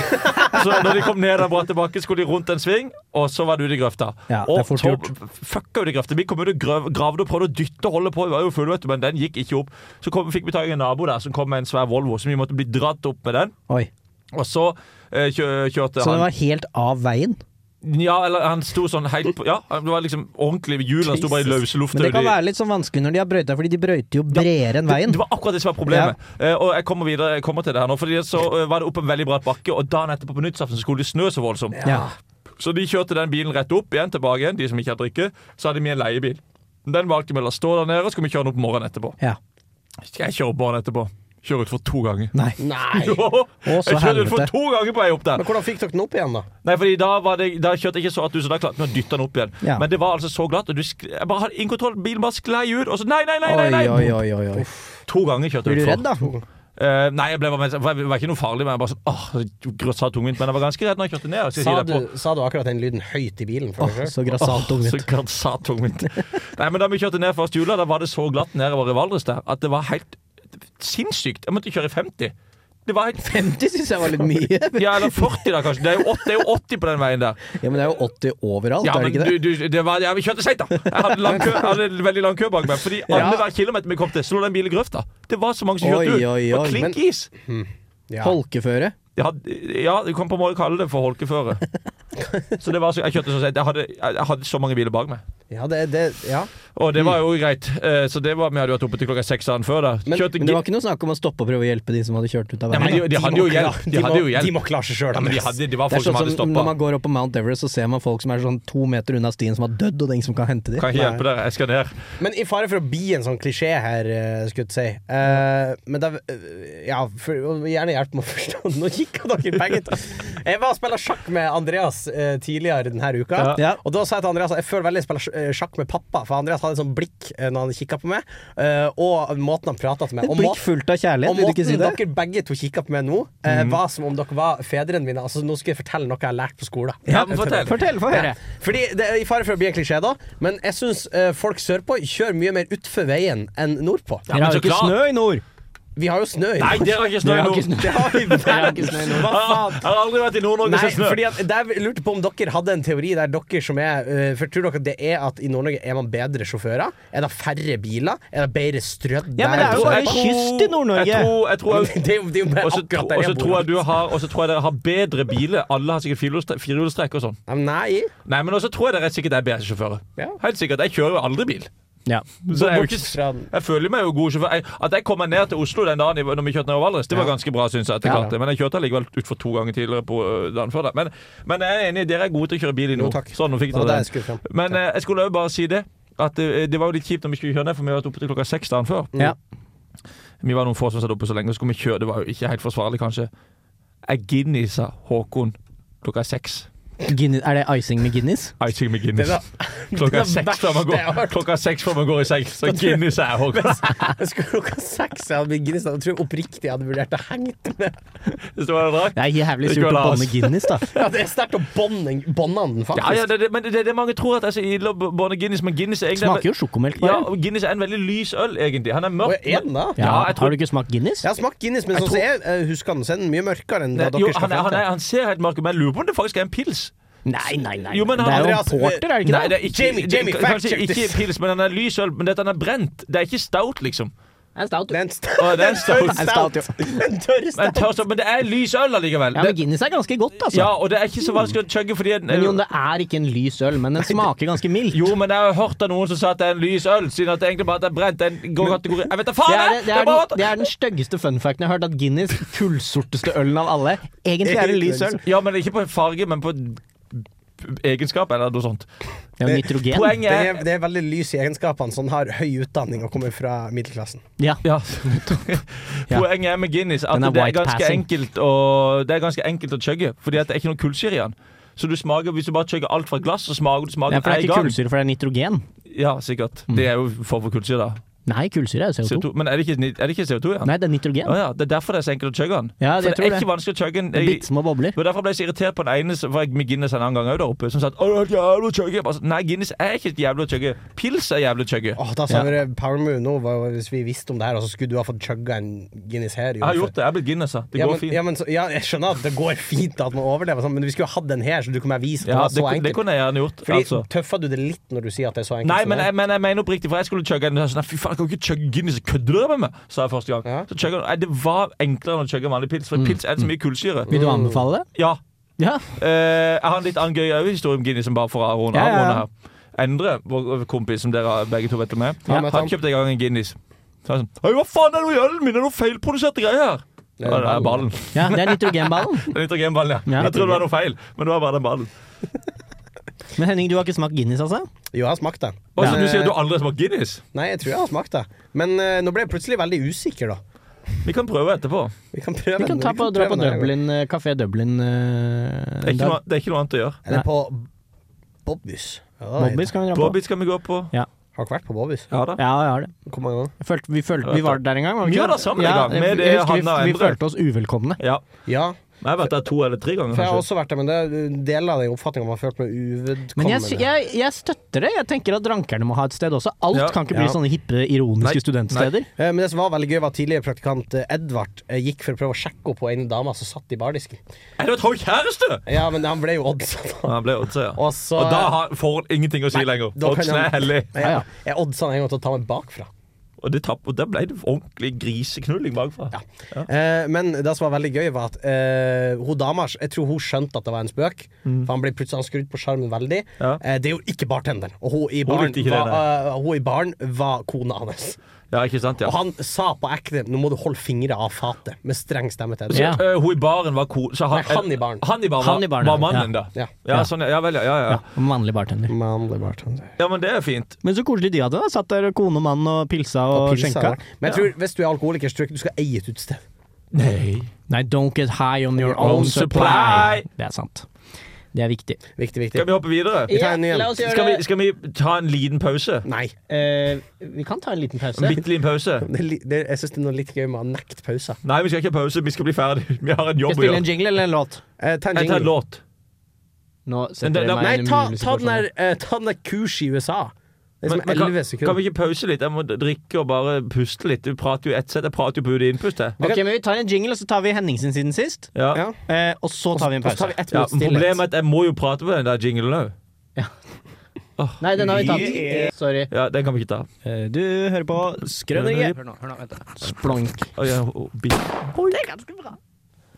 S2: så når de kom ned der bratt tilbake, skulle de rundt en sving, og så var du ute i grøfta.
S4: Ja, det er
S2: og
S4: fort
S2: så
S4: gjort.
S2: fucka ut i grøfta. Vi kom ut og grøv, gravde og prøvde å dytte og holde på, vi var jo fulle, vet du, men den gikk ikke opp. Så kom, fikk vi tak i en nabo der som kom med en svær Volvo, så vi måtte bli dratt opp med den.
S4: Oi.
S2: Og så eh, kjø, kjørte
S4: Så den
S2: han
S4: var helt av veien?
S2: Ja, eller han sto sånn helt på Ja, det var liksom ordentlig Hjulene sto bare i løse lufta.
S4: Men det kan
S2: og de-
S4: være litt sånn vanskelig når de har brøyta, fordi de brøyter jo bredere enn veien.
S2: Det var akkurat det som var problemet. Eh, og jeg kommer videre jeg kommer til det her nå. Fordi så eh, var det opp en veldig bratt bakke, og dagen etterpå på nyttårsaften så skulle det snø så voldsomt.
S4: Ja.
S2: Så de kjørte den bilen rett opp igjen, tilbake igjen, de som ikke hadde drikke. Så hadde vi en leiebil. Den valgte vi å la stå der nede, og så skulle vi kjøre den opp morgenen etterpå.
S4: Ja.
S2: Skal jeg kjøre opp morgenen etterpå? Kjøre utfor to ganger.
S4: Nei.
S3: <laughs> Nei!
S2: <laughs> Jo,
S4: så
S2: jeg kjørte utfor
S4: helvete.
S2: to ganger på vei opp der.
S3: Men hvordan fikk dere den opp igjen, da?
S2: Nei, fordi da, var det, da kjørte jeg ikke så at du, så da klarte vi å dytte den opp igjen.
S4: Ja.
S2: Men det var altså så glatt, og du sk jeg bare hadde ingen kontroll. Bilen bare sklei ut, og så nei, nei, nei! nei,
S4: Oi,
S2: nei.
S4: oi, oi, oi. oi.
S2: To ganger kjørte
S4: Blir
S2: jeg
S4: du
S2: utfor.
S4: redd, da?
S2: Eh, nei, jeg ble bare, for jeg var ikke noe farlig, men jeg bare sånn åh, så grøssa tungvint. Men jeg var ganske redd når jeg kjørte ned. Så jeg
S3: Sa
S2: sier det
S3: du,
S2: på.
S3: sa du akkurat den lyden høyt i bilen? For deg selv?
S4: Så grassat ung
S2: Så
S4: ut.
S2: grøssa tungvint. Nei, men da vi kjørte ned først jula, da var det så glatt nedover i Valdres der at det var helt sinnssykt. Jeg måtte kjøre i 50. Det var helt
S4: 50 syns jeg var litt mye.
S2: Ja, eller 40 da, kanskje. Det er jo 80, det er jo 80 på den veien der.
S4: Ja, Men det er jo 80 overalt,
S2: Ja,
S4: er det
S2: men
S4: ikke det?
S2: du, du, det var, ja, vi kjørte seint, da! Jeg hadde, lang kø, jeg hadde en veldig lang kø bak meg. Fordi annenhver kilometer vi kom til, slo den bilen i grøfta. Det var så mange som
S4: Oi,
S2: kjørte ut.
S4: oi, oi,
S2: og klink is!
S3: Ja.
S4: Holkeføre.
S2: Jeg hadde, ja, du kan på en måte kalle det for
S4: <laughs>
S2: holkeføre. Så det var så, jeg kjørte så seint. Jeg, hadde- jeg, jeg hadde så mange biler bak meg.
S3: Ja, det, det, ja.
S2: Og det var jo greit. Eh, Så det var, vi hadde jo vært oppe til klokka seks dagen før. da
S3: Men-
S2: Kjørte
S4: Mm. Men det
S2: gi-
S4: var ikke noe snakk om å stoppe og prøve å hjelpe de som hadde kjørt ut av
S2: Nei, men
S4: veien.
S2: de, de hadde
S3: må
S2: jo
S3: klar-
S2: hjelp.
S3: de
S2: De hadde
S3: må-
S2: jo
S3: De
S2: hjelp.
S3: må klare seg sjøl.
S2: Ja, men de hadde, det var
S4: Det er
S2: folk som
S4: sånn
S2: hadde
S4: som når
S2: stoppa.
S4: man går opp på Mount Everest, så ser man folk som er sånn to meter unna stien, som har dødd, og det er ingen som kan hente dem.
S2: Kan ikke hjelpe dere, jeg skal ned.
S3: Men i fare for å bli en sånn klisjé her, eh, skulle jeg si Eh, Men da eh, Ja, for, og gjerne hjelp meg å forstå. Nå kikka dere begge to. Jeg var og spilte sjakk med Andreas eh, tidligere denne uka.
S4: Ja.
S3: Og da sa jeg til Andreas at jeg føler veldig jeg spiller sj- eh, sjakk med pappa, for Andreas hadde et sånt blikk eh, når han kikka på meg, eh, og måten han prata til meg
S4: Et
S3: Og
S4: blikk
S3: måten-
S4: fullt av
S3: og
S4: kjærlighet, vil du ikke
S3: måten
S4: si det? Mhm.
S3: dere begge to kikka på meg nå, eh, var som om dere var fedrene mine. Altså, nå skal jeg fortelle noe jeg har lært på skolen.
S2: Ja, men fortell.
S4: Fortell, få høre.
S3: Fordi det er I fare for å bli en klisjé, da, men jeg eh, syns folk sørpå kjører mye mer utfor veien enn nordpå.
S4: Dere
S2: Ja, men
S4: har
S2: så
S4: jo ikke
S2: klart.
S4: snø i nord.
S3: Vi har jo snø i
S2: Nei, dere har ikke snø
S4: Dere har
S2: nå!
S4: ikke snø.
S3: <laughs> Det har vi
S4: Dere har ikke snø i nord.
S3: Hva
S2: Jeg har
S3: faen?
S2: jeg har aldri vært i Nord-Norge og
S3: Nei,
S2: sett snø.
S3: fordi at der lurte på om dere hadde en teori der dere som er eh, For tror dere det er at i Nord-Norge er man bedre sjåfører? Er det færre biler? Er det bedre strødd
S8: Ja, men
S3: der?
S8: det er jo
S2: Så
S3: <laughs>
S8: bare
S2: jeg tror-
S8: kyst i Nord-Norge.
S2: Jeg tror, jeg
S4: <laughs>
S2: tror
S3: det er jo, det er jo bare
S2: Og så
S3: akkurat
S2: og
S3: der
S2: så
S3: jeg
S2: tror
S3: bor.
S2: jeg du har Og så tror jeg dere har bedre biler. Alle har sikkert firehjulstre- firehjulstrekk og sånn.
S3: Nei, men Nei.
S2: Nei, men også tror jeg dere sikkert er bedre sjåfører.
S3: Ja.
S2: Helt sikkert. Jeg kjører jo aldri bil.
S4: Ja.
S2: Så jeg, er jo
S3: Bortsett
S2: ikke,
S3: fra den.
S2: jeg føler meg jo god sjåfør. Jeg, at jeg kom meg ned til Oslo den dagen jeg- når vi kjørte nedover Valdres, det var ganske bra, syns jeg. at jeg
S3: Ja,
S2: klarte det. Men jeg kjørte allikevel utfor to ganger tidligere på øh, dagen før. Da. Men, men jeg er enig, dere er gode til å kjøre bil i nord.
S3: takk.
S2: Sånn, nå fikk
S3: Det var
S2: dere den.
S3: der jeg skulle fram.
S2: Men eh, jeg skulle jo bare si det. At eh, Det var jo litt kjipt når vi skulle kjøre ned, for vi var oppe til klokka seks dagen før.
S4: Ja.
S2: Vi var noen få som satt oppe så lenge, så skulle vi kjøre. Det var jo ikke helt forsvarlig, kanskje. Jeg Guinnessa Håkon klokka seks.
S4: Guinness, er det icing med Guinness?
S2: Icing med Guinness.
S3: Det er det
S2: <laughs> Klokka
S3: er
S2: seks før man
S3: verste jeg
S2: går,
S3: har hørt.
S2: klokka seks før man går i seng, så Guinness er Håkon.
S3: Jeg <laughs> skulle klokka seks. Jeg hadde blitt Guinness. Jeg tror oppriktig jeg hadde vurdert å hengt med.
S2: <laughs> Hvis det var en drakk.
S4: Det er jævlig
S2: Det
S4: surt å
S2: går las.
S4: banne Guinness,
S2: <laughs>
S4: da.
S3: Ja, det er sterkt å bånde bånde den, faktisk.
S2: Ja, ja, det, det, men det, det mange tror at altså, det er så ille å bånde Guinness, men Guinness er egentlig
S4: Smaker jo sjokomelk,
S2: ja,
S4: bare.
S2: og Guinness er en veldig lys øl, egentlig. Han er
S3: Og
S2: mørk.
S3: er den da?
S4: Ja,
S2: Ja, jeg tror-
S4: Har du ikke smakt Guinness?
S3: Jeg har smakt Guinness, men sånn som jeg eh, husker den, så er den mye mørkere enn
S2: Nei,
S3: da dere
S2: jo,
S3: skal
S2: han, er,
S3: fram
S2: han,
S3: til.
S2: er, han ser helt mørk ut, men jeg lurer på om det faktisk er en pils.
S4: Nei, nei, nei.
S2: Jo, men
S4: det er
S2: han-
S4: jo
S3: Andreas,
S4: en porter, er det ikke
S2: Nei,
S4: det?
S2: det er ikke,
S3: Jamie, Jamie,
S2: det,
S3: fact
S2: kanskje
S3: check
S2: ikke
S3: this.
S2: pils, men han er lys øl. Men dette han er brent. Det er ikke stout, liksom.
S4: Det er en stout.
S3: Det er en st-
S2: Å, det er en stout.
S3: en stout. En tørr
S2: Men,
S3: stout.
S2: tør, så, men det er lys øl allikevel.
S4: Ja, men
S2: Det,
S4: Guinness er ganske godt, altså.
S2: ja, og det er ikke så vanskelig å chugge fordi en,
S4: Men Jon, det er ikke en lys øl, men den smaker ganske mildt.
S2: Jo, men jeg har hørt av noen som sa at det er en lys øl, siden at det egentlig bare at det er brent. Det er en god kategori Jeg vet da
S4: Det
S2: faen!
S4: er,
S2: jeg!
S4: det,
S2: Det
S4: er
S2: er bare
S4: den, det er den styggeste funfacten jeg har hørt, at Guinness, kullsorteste ølen av alle, egentlig er en lys øl.
S2: at- Ja, men ikke på farge, men på egenskap eller noe sånt.
S4: Ja, nitrogen.
S2: Poenget
S3: Det
S2: er
S3: er, det er veldig lys i egenskapene, så den har høy utdanning og kommer fra middelklassen.
S4: Ja.
S2: <laughs> Ja. Poenget er med Guinness at
S4: Den er
S2: det er
S4: white
S2: ganske
S4: passing.
S2: enkelt å, det er ganske enkelt å chugge, fordi at det er ikke noe kullsyre i den. Så du smaker, Hvis du bare chugger alt fra et glass, så smaker du
S4: Ja,
S2: smaken
S4: for det er
S2: en
S4: ikke Mm.
S2: gang.
S4: kullsyre, for det er nitrogen.
S2: Ja, sikkert. Det er jo en form for kullsyre, da.
S4: Nei, kullsyre er jo CO2.
S2: CO2. Men er det ikke, er det ikke CO2 i den?
S4: Nei, det er nitrogen.
S2: Å ja, det er derfor det er så enkelt å chugge den.
S4: Ja,
S2: For
S4: jeg
S2: det
S4: tror
S2: er
S4: det.
S2: ikke vanskelig å chugge den. Jeg-
S4: Bitte små bobler.
S2: Det var derfor jeg ble så irritert på den ene som var med Guinness en annen gang også der oppe, som sa at «Å, det er jævlig å chugge. Jeg bare sånn, Nei, Guinness er ikke et jævlig å chugge. Pils er jævlig å chugge.
S3: Åh, da sa dere Power Moon nå, var- hvis vi visste om det her, og så skulle du ha fått chugga en Guinness her.
S2: Jeg har gjort det. Jeg er blitt Guinness, da. Det
S3: ja,
S2: går
S3: men,
S2: fint.
S3: Ja, men, så, ja, jeg skjønner at det går fint at man overlever, sånn, men vi skulle ha hatt den her, så du kunne ha vist at
S2: Ja,
S3: det
S2: det,
S3: var så
S2: det
S3: enkelt.
S2: kunne jeg gjerne gjort.
S3: Fordi
S2: altså.
S3: Tøffa du det litt når du sier at det er så enkelt?
S2: Nei,
S3: som
S2: men
S3: det er?
S2: jeg, men jeg mener oppriktig, for jeg skulle chugge den. og så sa jeg Sånn, Fy faen, jeg kan ikke chugge Guinness, kødder dere med meg? Sa jeg første gang.
S3: Ja. Mm.
S2: Så chugger, jeg- nei, det var enklere enn å chugge vanlig pils, for pils er så mye kullsyre.
S4: Vil du anbefale det?
S2: Ja.
S4: Ja.
S2: Eh, jeg har en litt annen gøy også historie om Guinness, som bare for å runde
S4: Ja, ja, ja.
S2: runde her. Endre, vår kompis som dere begge to vet om er,
S3: Ja, men
S2: han
S3: han-
S2: kjøpte en gang en Guinness. Så han sånn Hei, hva faen er det i ølen min? Er det noe feilproduserte greier her?
S3: Det er
S2: Ja, det er ballen.
S4: ja, det er nitrogenballen.
S2: Den nitrogenballen, ja.
S4: Ja.
S2: Jeg trodde det var noe feil, men det var bare den ballen.
S4: Men Henning, du har ikke smakt Guinness, altså?
S3: Jo, jeg har smakt det.
S2: Og så
S3: Men,
S2: du sier at du
S3: eh,
S2: aldri har smakt Guinness?
S3: Nei, jeg tror jeg har smakt det. Men eh, nå ble jeg plutselig veldig usikker, da.
S2: Vi kan prøve etterpå.
S3: Vi kan prøve
S4: Vi kan
S3: den-
S4: ta på, dra
S3: prøve
S4: på
S3: den her.
S4: Dublin, eh, Café Dublin eh,
S2: Det er
S4: en
S2: ikke
S4: dag.
S2: noe, det er ikke noe annet å gjøre.
S3: Eller på Bobbys. Ja, det er-
S4: Bobby skal vi dra på.
S2: Bobby skal vi gå på.
S3: Har dere vært på Bobbys?
S2: Ja da.
S4: Ja, jeg har det.
S3: Hvor mange ganger?
S4: Jeg følte, vi, følte, vi var der en gang. var
S2: Vi
S4: ikke
S2: var
S4: det?
S2: der sammen en
S4: Ja,
S2: gang,
S4: jeg
S2: med det
S4: husker vi-
S2: Hanna og
S4: Vi
S2: Endre.
S4: følte oss uvelkomne.
S2: Ja.
S3: Ja,
S2: Jeg har vært der to eller tre ganger,
S3: for jeg har
S2: kanskje.
S3: også vært der, men det deler den oppfatningen man har følt med uvedkommende.
S4: Men jeg, jeg, jeg støtter det. Jeg tenker at rankerne må ha et sted også. Alt
S2: Ja.
S4: kan ikke bli
S3: Ja.
S4: sånne hippe, ironiske
S2: Nei.
S4: studentsteder.
S3: Eh, Men det som var veldig gøy, var at tidligere praktikant eh, Edvard eh, gikk for å prøve å sjekke opp på en dame som satt i bardisken.
S2: Er det et høyt kjæreste?!
S3: Ja, men han ble jo
S4: <laughs>
S3: oddsa.
S2: Han ble oddsa, ja.
S3: Og så-
S2: Og da har, får han ingenting å si lenger.
S3: da kan
S2: Oddsen er
S3: han-
S2: hellig.
S3: Ja, ja. Jeg oddsa han en gang til å ta meg bakfra.
S2: Og, det tapp, og der ble det ordentlig griseknulling bakfra.
S3: Ja. Eh, men det som var veldig gøy, var at eh, hun dama Jeg tror hun skjønte at det var en spøk. For han ble plutselig han skrudd på skjermen veldig.
S2: Mm. Ja.
S3: Eh, det er jo ikke bartenderen. Og hun i
S2: Hun
S3: baren
S2: likte ikke
S3: var,
S2: det,
S3: eh, hun i baren var kona hans.
S2: Ja, ikke sant? Ja.
S3: Og han sa på ekte 'nå må du holde fingre av fatet', med streng stemme til henne.
S4: Ja.
S2: Eh, hun i baren var cool. Så
S3: Nei, han i baren.
S2: Han i baren,
S4: Han i baren,
S2: var
S4: ja.
S2: mannen,
S4: Ja.
S2: da.
S3: Ja.
S2: Ja, sånn, ja, ja vel, ja, ja, ja.
S4: En Vanlig bartender.
S3: Mannlig bartender.
S2: Ja, men det er fint.
S4: Men så koselig de hadde. da Satt der kone og mann og pilsa og,
S3: Pilsa,
S4: skjenka.
S3: da. Men jeg tror, hvis du er alkoholiker, så tror jeg ikke du skal eie et utested.
S2: Nei.
S4: Nei, don't get high on your own
S2: Own
S4: supply.
S2: supply.
S4: Det er sant. Det er viktig.
S3: Viktig,
S2: Skal
S3: viktig.
S2: vi hoppe videre?
S3: Vi tar en ny en.
S4: gjøre
S2: Skal vi, skal vi ta en liten pause?
S3: Nei.
S4: Eh, vi kan ta en liten pause.
S2: En bitte liten pause?
S3: Det, er li- det, jeg syns det er noe litt gøy med å nekte pauser.
S2: Nei, vi skal ikke ha pause. Vi skal bli ferdig. <laughs> Vi har en
S4: Skal
S2: jobb
S4: jeg
S2: å
S4: spille en
S2: gjøre.
S4: jingle eller en låt?
S3: Eh, ta en
S2: Jeg tar en
S3: jingle.
S2: låt.
S4: Nå
S2: Men det-
S4: setter dere
S2: det-
S4: meg i
S3: Nei,
S4: en
S3: ta,
S4: umulig
S3: ta den
S4: situasjon.
S3: der eh, Ta den der kurs i USA.
S9: Det er som
S2: Men- men
S9: 11
S2: Kan
S9: sekunder.
S2: vi ikke pause litt? Jeg må drikke og bare puste litt. Du prater jo ett sett, jeg prater jo på hodet innpust. jeg.
S4: Ok, men Vi tar en jingle, og så tar vi Henningsen siden sist.
S2: Ja.
S9: Ja.
S4: Eh, og så tar vi en
S3: Og så tar
S4: pause.
S3: vi ett
S2: Ja,
S3: minutt stillhet.
S2: problemet er at jeg må jo prate på den der jinglen òg.
S4: Nei, den har vi tatt. Sorry.
S2: Ja, den kan vi ikke ta.
S4: Eh, Du hører på Skrøneriet.
S10: Hør nå, hør nå, vent da.
S4: Splonk.
S2: Oi, jeg- å, bi-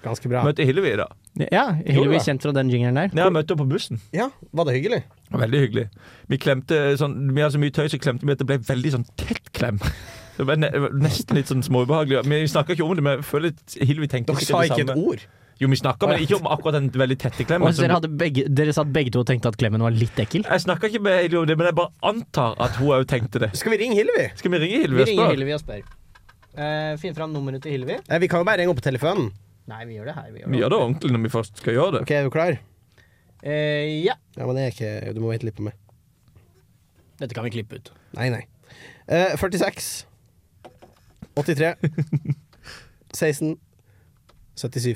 S3: Ganske bra.
S2: Møtte Hillevi i dag.
S4: Ja, Hillevi
S3: da.
S4: er kjent fra den jingelen der.
S2: Ja, jeg møtte henne på bussen.
S3: Ja, var det hyggelig?
S2: Veldig hyggelig. Vi klemte sånn Vi hadde så mye tøy, så klemte vi at det ble veldig sånn tett klem. <laughs> Det ble ne nesten litt sånn småubehagelig. Men Vi snakka ikke om det, men jeg føler at Hillevi tenkte
S3: Dere sa ikke et ord.
S2: Jo, vi snakka, men ikke om akkurat den veldig tette klemmen.
S4: Og
S2: som-
S4: dere, hadde begge, dere satt begge to og tenkte at klemmen var litt ekkel?
S2: Jeg snakka ikke med Hillevi om det, men jeg bare antar at hun òg tenkte det.
S3: Skal vi ringe Hillevi?
S2: Skal vi ringe Hillevi
S4: Vi
S2: og
S4: ringer
S2: spørre?
S4: Hillevi og spør. Eh, finn fram nummeret til Hillevi.
S3: Nei, Eh, vi kan jo bare ringe opp på telefonen.
S4: Nei, vi gjør det her. Vi gjør
S2: Vi
S4: det.
S2: gjør det ordentlig når vi først skal gjøre det.
S3: Ok, er du klar?
S4: Eh, ja.
S3: Ja, men det er ikke Du må vente litt på meg.
S4: Dette kan vi klippe ut.
S3: Nei, nei. Eh, 46 83 16 77.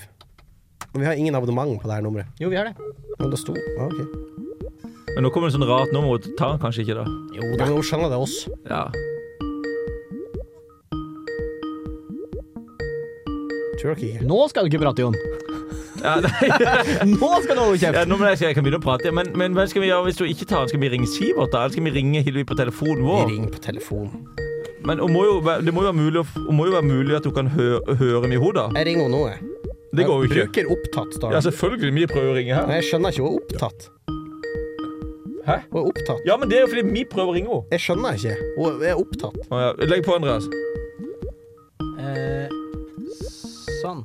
S3: Men vi har ingen abonnement på det her nummeret.
S4: Jo, vi har det.
S3: Men det sto ah, ok.
S2: Men nå kommer det sånn rart nummer, og tar han kanskje ikke da.
S4: Jo
S3: Ja,
S4: da.
S3: men hun skjønner det oss.
S2: Ja.
S3: Tror dere ikke?
S4: Nå skal du ikke prate, <laughs> Jon.
S2: ja <laughs> nei.
S4: Nå skal du holde
S2: Ja,
S4: kjeft!
S2: nå må jeg, jeg kan begynne å prate, ja, men, men hva skal vi gjøre hvis du ikke tar den? Skal vi ringe Sivert, da? Eller skal vi ringe Hillevi på telefonen
S3: Vi
S2: vår?
S3: ringer på telefon.
S2: Men hun må jo, være- det må jo være mulig, å f- hun må jo være mulig at hun kan høre, høre den i hodet.
S3: Jeg ringer henne nå, jeg.
S2: Det går jo ikke.
S3: Bruker opptatt, står
S2: Ja,
S3: det.
S2: selvfølgelig. Vi prøver å ringe her.
S3: Nei, jeg skjønner ikke. Hun er opptatt.
S2: Hæ?
S3: Hun er opptatt.
S2: Ja, men det er jo fordi vi prøver å ringe henne.
S3: Jeg skjønner ikke. Hun er opptatt.
S2: Å, ja. Legg på, Andreas.
S4: Eh, sånn.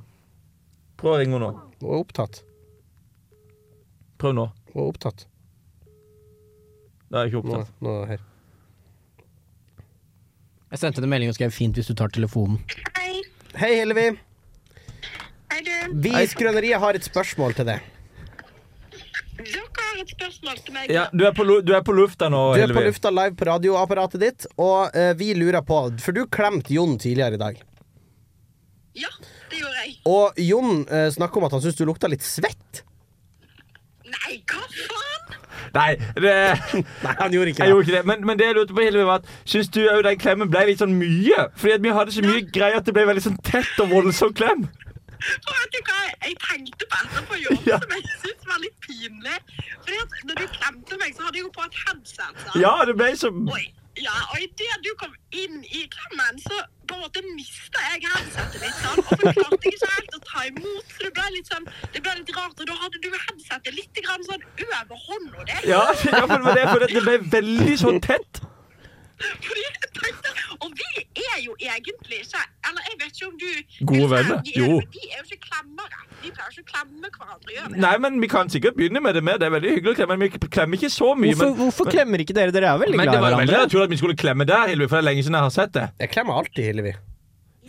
S2: Prøv å ringe henne nå.
S3: Hun er opptatt.
S2: Prøv nå.
S3: Hun er opptatt.
S2: Det er ikke
S3: Nå,
S2: opptatt.
S3: nå er det her.
S4: Jeg sendte en melding og skrev 'fint hvis du tar telefonen'.
S11: Hei.
S3: Hei, Hillevi.
S11: Hei, du.
S3: Vi i Skrøneriet har et spørsmål til deg.
S11: Dere har et spørsmål til meg.
S2: Ja, du er på, lu- du er på lufta nå,
S3: Du er på
S2: Hillevi.
S3: lufta live på radioapparatet ditt, og eh, vi lurer på For du klemte Jon tidligere i dag.
S11: Ja, det gjorde jeg.
S3: Og Jon uh, snakker om at han syns du lukta litt svett.
S11: Nei, hva faen?
S2: Nei, det
S3: <laughs> Nei, han gjorde
S2: Jeg gjorde ikke det, men, men det jeg lurte på, Hillevi, var at syns du òg den klemmen ble litt sånn mye? Fordi at vi hadde så mye greier at det ble veldig sånn tett og voldsom klem.
S11: Og vet du hva jeg tenkte på etterpå jobb,
S2: Ja.
S11: som jeg syntes var litt pinlig? Fordi at når du klemte meg, så hadde jeg jo på et headset. sant?
S2: Ja, det ble så
S11: Og, ja, og idet du kom inn i klemmen, så på en måte mista jeg headsetet litt. sånn, Og så klarte jeg ikke helt å ta imot, så det ble litt sånn, det ble litt rart. Og da hadde du headsetet litt grann sånn over hånda di.
S2: Ja, <laughs> ja men det var det, fordi at det ble veldig så tett.
S11: Fordi jeg tenkte, og vi er jo egentlig ikke Eller jeg vet ikke om du
S2: Gode
S11: Eller,
S2: venner,
S11: De er,
S2: jo.
S11: De er jo ikke klemmere. De pleier jo ikke å klemme hverandre. Gjør vi det?
S2: Nei, men vi kan sikkert begynne med det mer. Det er veldig hyggelig å klemme, men vi klemmer ikke så mye.
S4: Hvorfor,
S2: Men,
S4: hvorfor klemmer ikke dere? Dere er veldig
S2: men
S4: glad i
S2: det var veldig
S4: hverandre.
S2: naturlig at vi skulle klemme der, Hillevi, for det er lenge siden jeg har sett det.
S3: Jeg klemmer alltid Hillevi.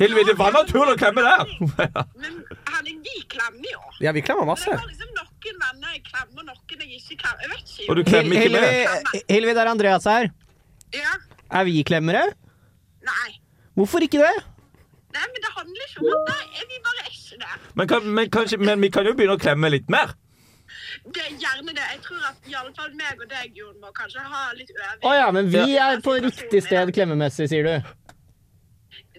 S2: Hillevi, det var naturlig å klemme der. <laughs>
S11: Men Henning, vi klemmer jo.
S3: Ja, vi klemmer
S11: Men det
S3: masse.
S11: var liksom noen venner jeg klemmer, og noen jeg ikke klemmer. Jeg vet ikke.
S2: Og du klemmer ikke
S4: Hillevi,
S2: mer.
S4: Hillevi, det er Andreas her.
S11: Ja.
S4: Er vi klemmere?
S11: Nei.
S4: Hvorfor ikke det?
S11: Nei, men det handler ikke om at Nei, vi bare er ikke det.
S2: Men, kan, men, kanskje, men vi kan jo begynne å klemme litt mer.
S11: Det er gjerne det. Jeg tror at i alle fall meg og deg, Jon, må kanskje ha litt øving.
S4: Å ja, men vi er på riktig sted klemmemessig, sier du.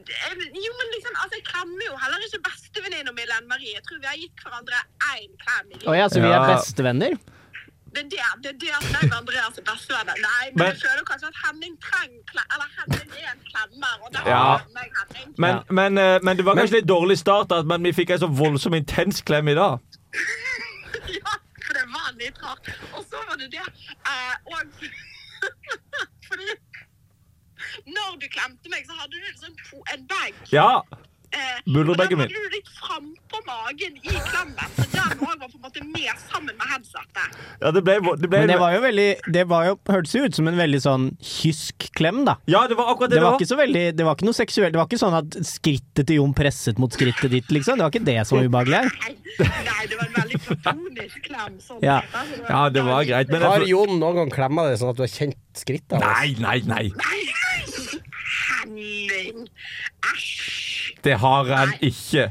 S11: Det er- Jo, men liksom, altså, jeg klemmer jo heller ikke bestevenninna mi, Lenn Marie. Jeg tror vi har gitt hverandre én klem. i livet.
S4: Å ja, så vi er
S2: Ja.
S4: bestevenner?
S11: Det er det, det er det at meg og Andreas er bestevenner. Nei, men,
S2: Men-
S11: jeg føler kanskje at Henning trenger klem... Eller Henning er en klemmer, og da
S2: Ja.
S11: er meg Henning.
S2: Men,
S4: Ja.
S2: men, eh, men det var kanskje litt dårlig start, at- men vi fikk en så voldsom intens klem i dag.
S11: <laughs> ja, for det var litt rart. Og så var det det eh, Og <laughs> fordi når du klemte meg, så hadde du liksom to, en bag.
S2: Ja.
S11: Eh,
S2: Bulderbagen
S11: og
S2: min.
S11: den hadde du litt frampå magen i klemmen. Så den òg var på en måte med sammen med headsetet.
S2: Ja, det ble, det ble
S4: Men det var jo veldig Det var jo, hørtes jo ut som en veldig sånn kysk klem, da.
S2: Ja, det var akkurat det
S4: Det
S2: det
S4: var
S2: var.
S4: ikke så veldig Det var ikke noe seksuelt. Det var ikke sånn at skrittet til Jon presset mot skrittet ditt, liksom. Det var ikke det som var ubehagelig her.
S11: Nei, nei, det var en veldig platonisk klem. Sånn.
S4: Ja.
S11: sett, altså,
S2: Ja, det var greit, men
S3: Har
S2: jeg,
S3: Jon noen gang klemma deg sånn at du har kjent skrittet hans?
S2: Nei, nei, nei.
S11: Nei, Henning! Æsj!
S2: Det har han ikke.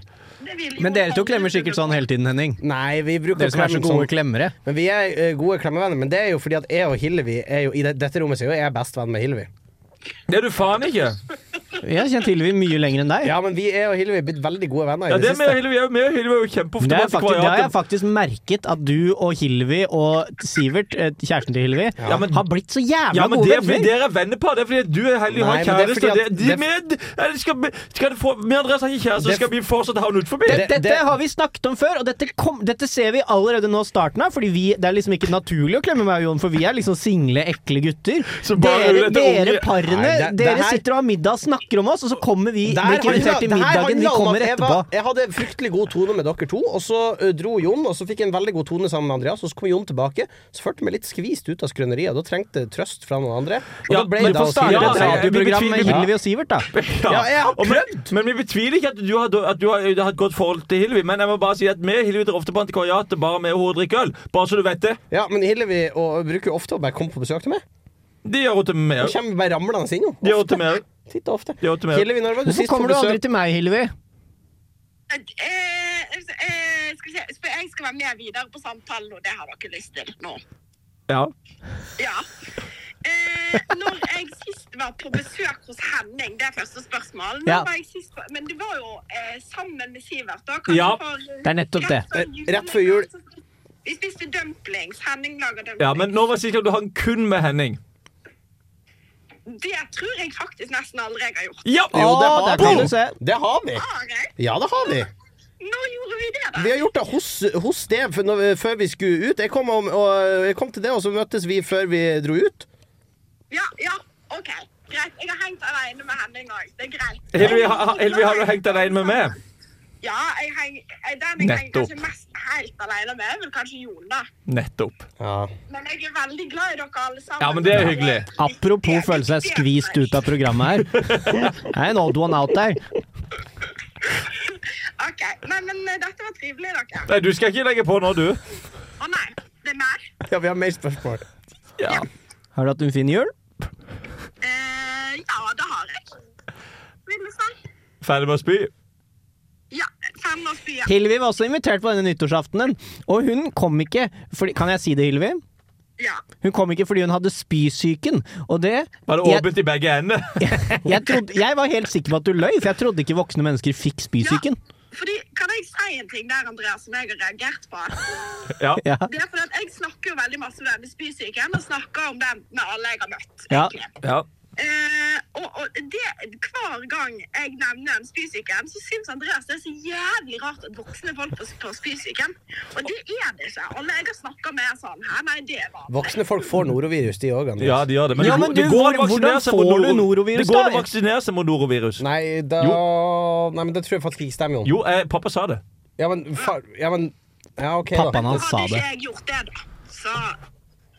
S11: det vil jo
S4: Men dere to
S11: alle
S4: klemmer sikkert sånn
S11: kunne-
S4: hele tiden, Henning.
S3: Nei, vi bruker
S4: Dere som er så
S3: klemming
S4: gode
S3: sånn.
S4: klemmere.
S3: Men vi er eh, gode klemmevenner, men det er jo fordi at jeg og Hillevi er jo, I det, dette rommet så er jo jeg bestevenn med Hillevi.
S2: Det er du faen ikke!
S4: Jeg har kjent Hillevi mye lenger enn deg.
S3: Ja, men vi er og Hillevi er blitt veldig gode venner i
S2: Ja,
S3: det,
S2: det er med
S3: siste.
S2: Hillevi. Vi og Hillevi er jo kjempeofte
S4: Det har jeg faktisk,
S2: på
S4: det har jeg
S2: antikvariatet.
S4: faktisk merket, at du og Hillevi og Sivert, eh, kjæresten til Hillevi,
S2: Ja, men-
S4: har blitt så jævla
S2: Ja, men det
S4: gode
S2: er fordi
S4: venner.
S2: dere er vennepar. Det er fordi du er heldig og har
S3: Nei, men det er
S2: kjæreste.
S3: fordi
S2: og Det,
S3: at-
S2: de,
S3: det-
S2: med, eh, de skal, skal de få, med Andreas har ikke kjæreste, så
S3: Det-
S2: skal vi fortsatt ha henne utenfor.
S4: Dette,
S3: Det- det-
S4: har vi snakket om før, og dette, kom, dette ser vi allerede nå starten av. Fordi vi, Det er liksom ikke naturlig å klemme meg og Jon, for vi er liksom single, ekle gutter.
S2: Så bare
S4: Dere,
S2: dette
S4: dere
S2: unge-
S4: parene
S3: Nei, det- det
S4: dere
S3: her-
S4: sitter og har middag og snakker om oss, og så kommer vi
S3: Der
S4: blir ikke
S3: handler-
S4: invitert til
S3: det her
S4: middagen. Vi
S3: handler om at
S4: kommer
S3: jeg var-
S4: etterpå.
S3: Jeg hadde fryktelig god tone med dere to, og så eh, dro Jon, og så fikk jeg en veldig god tone sammen med Andreas, og så kom Jon tilbake. Så følte jeg meg litt skvist ut av skrøneriet, og da trengte jeg trøst fra noen andre. Og
S2: Ja,
S3: da ble
S2: men
S3: det
S4: Du får
S3: å si-
S4: starte
S2: Ja,
S4: et
S2: jeg- jeg-
S4: radioprogram
S2: vi
S4: med
S2: betviler-
S4: Hillevi og Sivert, da.
S3: Ja, jeg har
S2: Og men, men vi betviler ikke at du har, at du har, du har et godt forhold til Hillevi, men jeg må bare si at vi og Hillevi drar ofte på antikvariatet bare med henne og drikker øl. Bare så du vet det.
S3: Ja, men Hillevi og, bruker jo ofte å bare komme på besøk til meg.
S2: De gjør henne til meg
S3: Hun
S2: òg.
S3: kommer bare ramlende inn,
S2: De gjør
S3: jo.
S2: henne til meg òg.
S3: Titt og ofte.
S2: De gjør til meg.
S3: Hillevi, når var du
S4: Hvorfor
S3: sist på
S4: kommer du aldri
S3: besøk?
S4: til meg, Hillevi?
S11: Eh, eh, skal vi se, for jeg skal være med videre på samtalen, og det har dere lyst til nå.
S2: Ja.
S11: Ja. Eh, når jeg sist var på besøk hos Henning, det er første spørsmål. Når
S4: Ja.
S11: var jeg sist på, men det var jo eh, sammen med Sivert, da. kanskje
S2: Ja,
S11: for,
S4: det er nettopp det.
S3: Rett før jul.
S11: Vi spiste dumplings. Henning lager dumplings.
S2: ja, men nå var sist gang du hang kun med Henning.
S11: Det tror jeg faktisk nesten aldri jeg har gjort.
S2: Ja!
S3: Jo, det
S4: Å,
S3: har
S4: der kan
S3: vi.
S4: du se.
S3: Det har vi.
S11: Har jeg?
S3: Ja, det har vi.
S11: Når gjorde vi det, da?
S3: Vi har gjort det hos, hos det for når, før vi skulle ut. Jeg kom, om, og, jeg kom til det, og så møttes vi før vi dro ut.
S11: Ja, ja, OK. Greit. Jeg har hengt alene med Henning òg. Det er greit.
S2: Hillevi, ha, ha- Hillevi har du hengt alene med meg?
S11: Ja, jeg heng, eh, den jeg henger
S2: Nettopp.
S11: kanskje mest helt alene med, er vel kanskje Jon, da.
S2: Nettopp.
S3: Ja.
S11: Men jeg er veldig glad i dere alle sammen.
S2: Ja, men det er hyggelig.
S4: Apropos føle seg skvist ut av programmet her. Det er en odd one out der.
S11: OK. Nei, men eh, dette var trivelig, dere.
S2: Nei, du skal ikke legge på nå, du.
S11: Å nei, det er mer.
S3: vi har mer spørsmål.
S2: Ja.
S4: Har du hatt en fin jul?
S11: Eh, ja, det har jeg. Vil du si?
S2: Ferdig med å spy?
S11: Ja. Femårsbyen.
S4: Hillevi var også invitert på denne nyttårsaftenen, og hun kom ikke fordi, Kan jeg si det, Hillevi?
S11: Ja.
S4: Hun kom ikke fordi hun hadde spysyken, og det
S2: Var det åpent i begge ender?
S4: Jeg, <laughs> jeg, trodde, jeg var helt sikker på at du løy, for jeg trodde ikke voksne mennesker fikk spysyken.
S11: Fordi, kan jeg si en ting der, Andreas, som jeg har reagert på?
S2: <laughs> Ja.
S4: Ja.
S11: Det er fordi at Jeg snakker jo veldig masse om denne spysyken, og snakker om den med alle jeg har møtt.
S4: Ja.
S11: egentlig.
S2: ja.
S11: Eh, og, og det, hver gang jeg nevner en spysyken, så syns Andreas det er så jævlig rart at voksne folk får får spysyken. Og det er det ikke. Alle jeg har snakka med, er sånn her. Nei, det er vanlig.
S3: Voksne folk får norovirus, de òg.
S2: Ja, de gjør det.
S4: Ja,
S2: det
S4: men du,
S2: går- det går an å
S4: hvordan
S2: vaksinere seg
S4: får
S2: mot
S4: du
S2: noro-
S4: norovirus
S2: Det går
S4: da?
S2: an å vaksinere seg mot norovirus.
S3: Nei, da Nei, men det tror jeg faktisk ikke stemmer, Jon.
S2: Jo, eh, pappa sa det.
S3: Ja, men far Ja, men Ja, OK,
S4: Pappaen
S3: da.
S4: hans sa
S11: Hadde
S4: det.
S11: ikke jeg gjort det, da, så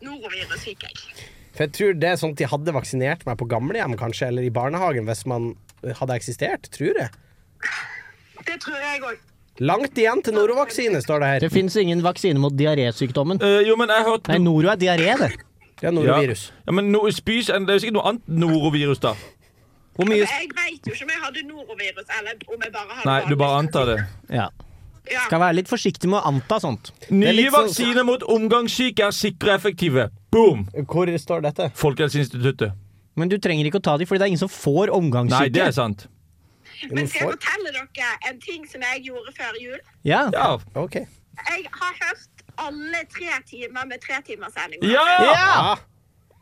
S11: norovirus fikk jeg.
S3: For jeg tror det er sånn at de hadde vaksinert meg på gamlehjem, kanskje, eller i barnehagen, hvis man hadde eksistert. Tror jeg.
S11: Det tror jeg òg.
S3: Langt igjen til norovaksine, står det her.
S4: Det fins ingen vaksine mot diarésykdommen.
S2: Eh, jo, men jeg hørte
S4: Nei, Noro er diaré, det.
S3: Ja, norovirus.
S2: Ja, men no, spys, det er jo sikkert noe annet norovirus, da.
S4: Hvor mye
S11: Altså, Jeg veit jo ikke om jeg hadde norovirus, eller om jeg bare hadde
S2: Nei, du bare antar det.
S4: Ja.
S11: Ja.
S4: Skal være litt forsiktig med å anta sånt.
S3: er
S2: Nye
S3: litt sånn-
S2: vaksiner mot omgangssyke er sikre og effektive. Boom!
S3: Hvor står dette?
S2: Folkehelseinstituttet.
S4: Men du trenger ikke å ta de, fordi det er ingen som får
S2: Nei, det
S4: omgangssyke.
S2: er sant.
S11: Men skal jeg
S3: for-
S11: fortelle dere en ting som jeg gjorde før jul?
S4: Ja.
S2: Ja.
S3: OK.
S11: Jeg har hørt alle tre timer med tretimerssending.
S2: Ja!
S3: Ja.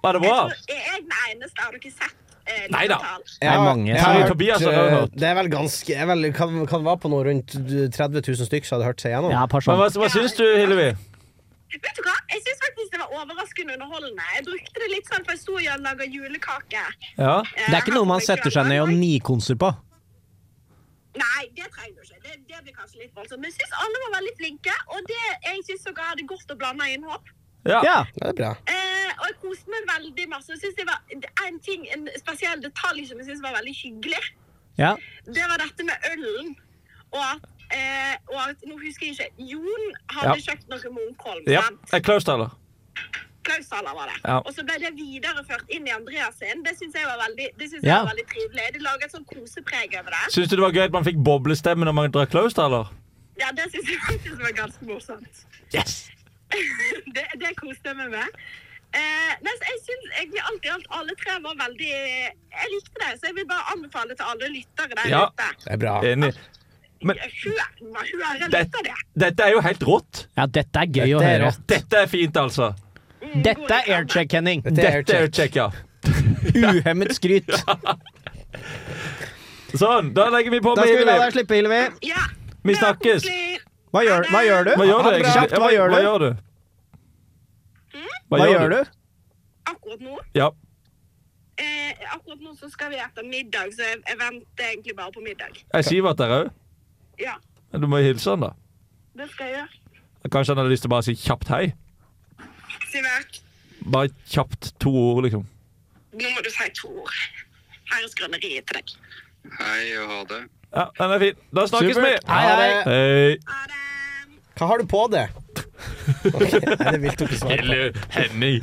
S2: Var det
S11: Jeg
S2: bra?
S11: tror jeg er den eneste. Har dere sett eh,
S2: Neida.
S11: lyttertall?
S4: Det er mange.
S3: Jeg har
S2: Terje
S3: hørt,
S2: Tobias har jeg
S3: eh,
S2: hørt.
S3: Det er vel ganske jeg er vel, kan, kan det være på noe rundt 30 000 stykk som hadde hørt seg gjennom?
S4: Ja, par
S2: Men
S4: sånn.
S2: hva, hva syns du, Hillevi?
S11: Vet du hva? Jeg syns faktisk det var overraskende underholdende. Jeg brukte det litt sånn for jeg sto og laga julekake.
S2: Ja.
S4: Det er ikke noe man setter seg ned og nikonser på.
S11: Nei, det trenger du ikke. Det, det blir kanskje litt voldsomt. Men jeg syns alle var veldig flinke, og det, jeg syns dere hadde godt og blanda innhopp.
S2: ja.
S4: Ja.
S3: Det er bra.
S11: Eh, og jeg koste meg veldig masse. Jeg synes det var det er en ting, en spesiell detalj som jeg syns var veldig hyggelig.
S4: ja.
S11: Det var dette med ølen. Og at, eh, og at nå husker jeg ikke Jon hadde
S2: Ja.
S11: kjøpt noe Munkholm.
S2: ja.
S11: sant?
S2: Jeg er Klaus-taler.
S11: applaus-saler, var det.
S2: Ja.
S11: Og så ble det videreført inn i Andreas sin. Det syns jeg var veldig, det synes jeg
S4: Ja.
S11: var veldig trivelig. De laget sånn kosepreg over det.
S2: Syns du det var gøy at man fikk boblestemme når man drakk klaus, da, eller?
S11: Ja, det syns jeg faktisk var ganske morsomt. <laughs>
S2: Yes!
S11: det, det koste jeg meg med. Eh, nei, så jeg synes egentlig alt i alt alle tre var veldig Jeg likte det, så jeg vil bare anbefale til alle lyttere der
S2: Ja.
S11: ute.
S3: Det
S4: Eh.
S3: er bra.
S2: Enig. Men-
S11: Hør, hva hører
S2: Det-
S11: litt av det?
S2: Dette er jo helt rått.
S4: Ja, dette er gøy å
S3: Det er
S4: høre.
S3: rått.
S2: Dette er fint, altså.
S11: Mm, god
S4: Dette er
S11: reklame.
S4: aircheck, Henning.
S3: Det er jo
S2: Dette er jo
S3: kjekt.
S2: kjekk, ja.
S4: Uhemmet <laughs> skryt.
S2: Sånn, da legger vi på
S4: Da
S2: med
S4: skal vi la
S2: Ivy.
S4: deg slippe, Hilvi.
S11: Ja.
S2: Vi
S11: det var
S2: snakkes.
S11: koselig.
S4: Hva gjør, hva gjør du?
S2: Hva gjør
S4: Ha
S2: du?
S4: det
S2: egentlig?
S4: Kjapt, hva gjør
S2: Hva
S4: du?
S2: gjør du?
S4: Hva gjør du?
S11: Akkurat nå
S2: Ja.
S11: eh, Akkurat nå så skal vi spise middag, så jeg, jeg venter egentlig bare på middag.
S2: Er Sivert der òg?
S11: Ja,
S2: Du må jo hilse han, da.
S11: det skal jeg gjøre.
S2: Kanskje han hadde lyst til å bare si kjapt hei?
S11: Sivert,
S2: Bare kjapt to ord, liksom.
S11: nå må du si to ord. Her er skrøneriet til deg.
S12: Hei og ha det.
S2: Ja, den er fin. Da snakkes vi!
S4: Supert. Hei, hei.
S2: Hei.
S11: Ha det.
S3: Hva har du på det? Ok, Nei, det vil du ikke svare på.
S2: Henning.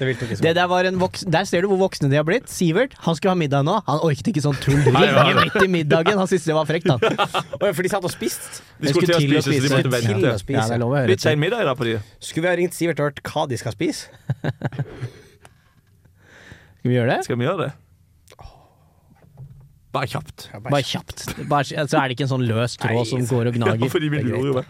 S3: Det vil du
S4: Det
S3: ikke svare på.
S4: der, var en voks der ser du hvor voksne de har blitt. Sivert han skulle ha middag nå. Han orket ikke sånn tull. dritt. Midt i middagen. Han syntes det var <laughs> frekt, han.
S3: Å ja, for de satt og spiste?
S2: De skulle til å spise, så de måtte
S3: Til å
S2: vente.
S4: Ja, det
S3: spise.
S4: er lov å høre.
S2: Litt sein middag i dag på de.
S3: Skulle vi ha ringt Sivert og hørt hva de skal spise?
S4: Skal vi gjøre det?
S2: Skal vi gjøre det? Bare kjapt.
S4: Bare kjapt. Bare, så er det ikke en sånn løs tråd som <laughs> går og
S2: Ja,
S4: gnager.
S2: <laughs> fordi vi lurer jo meg.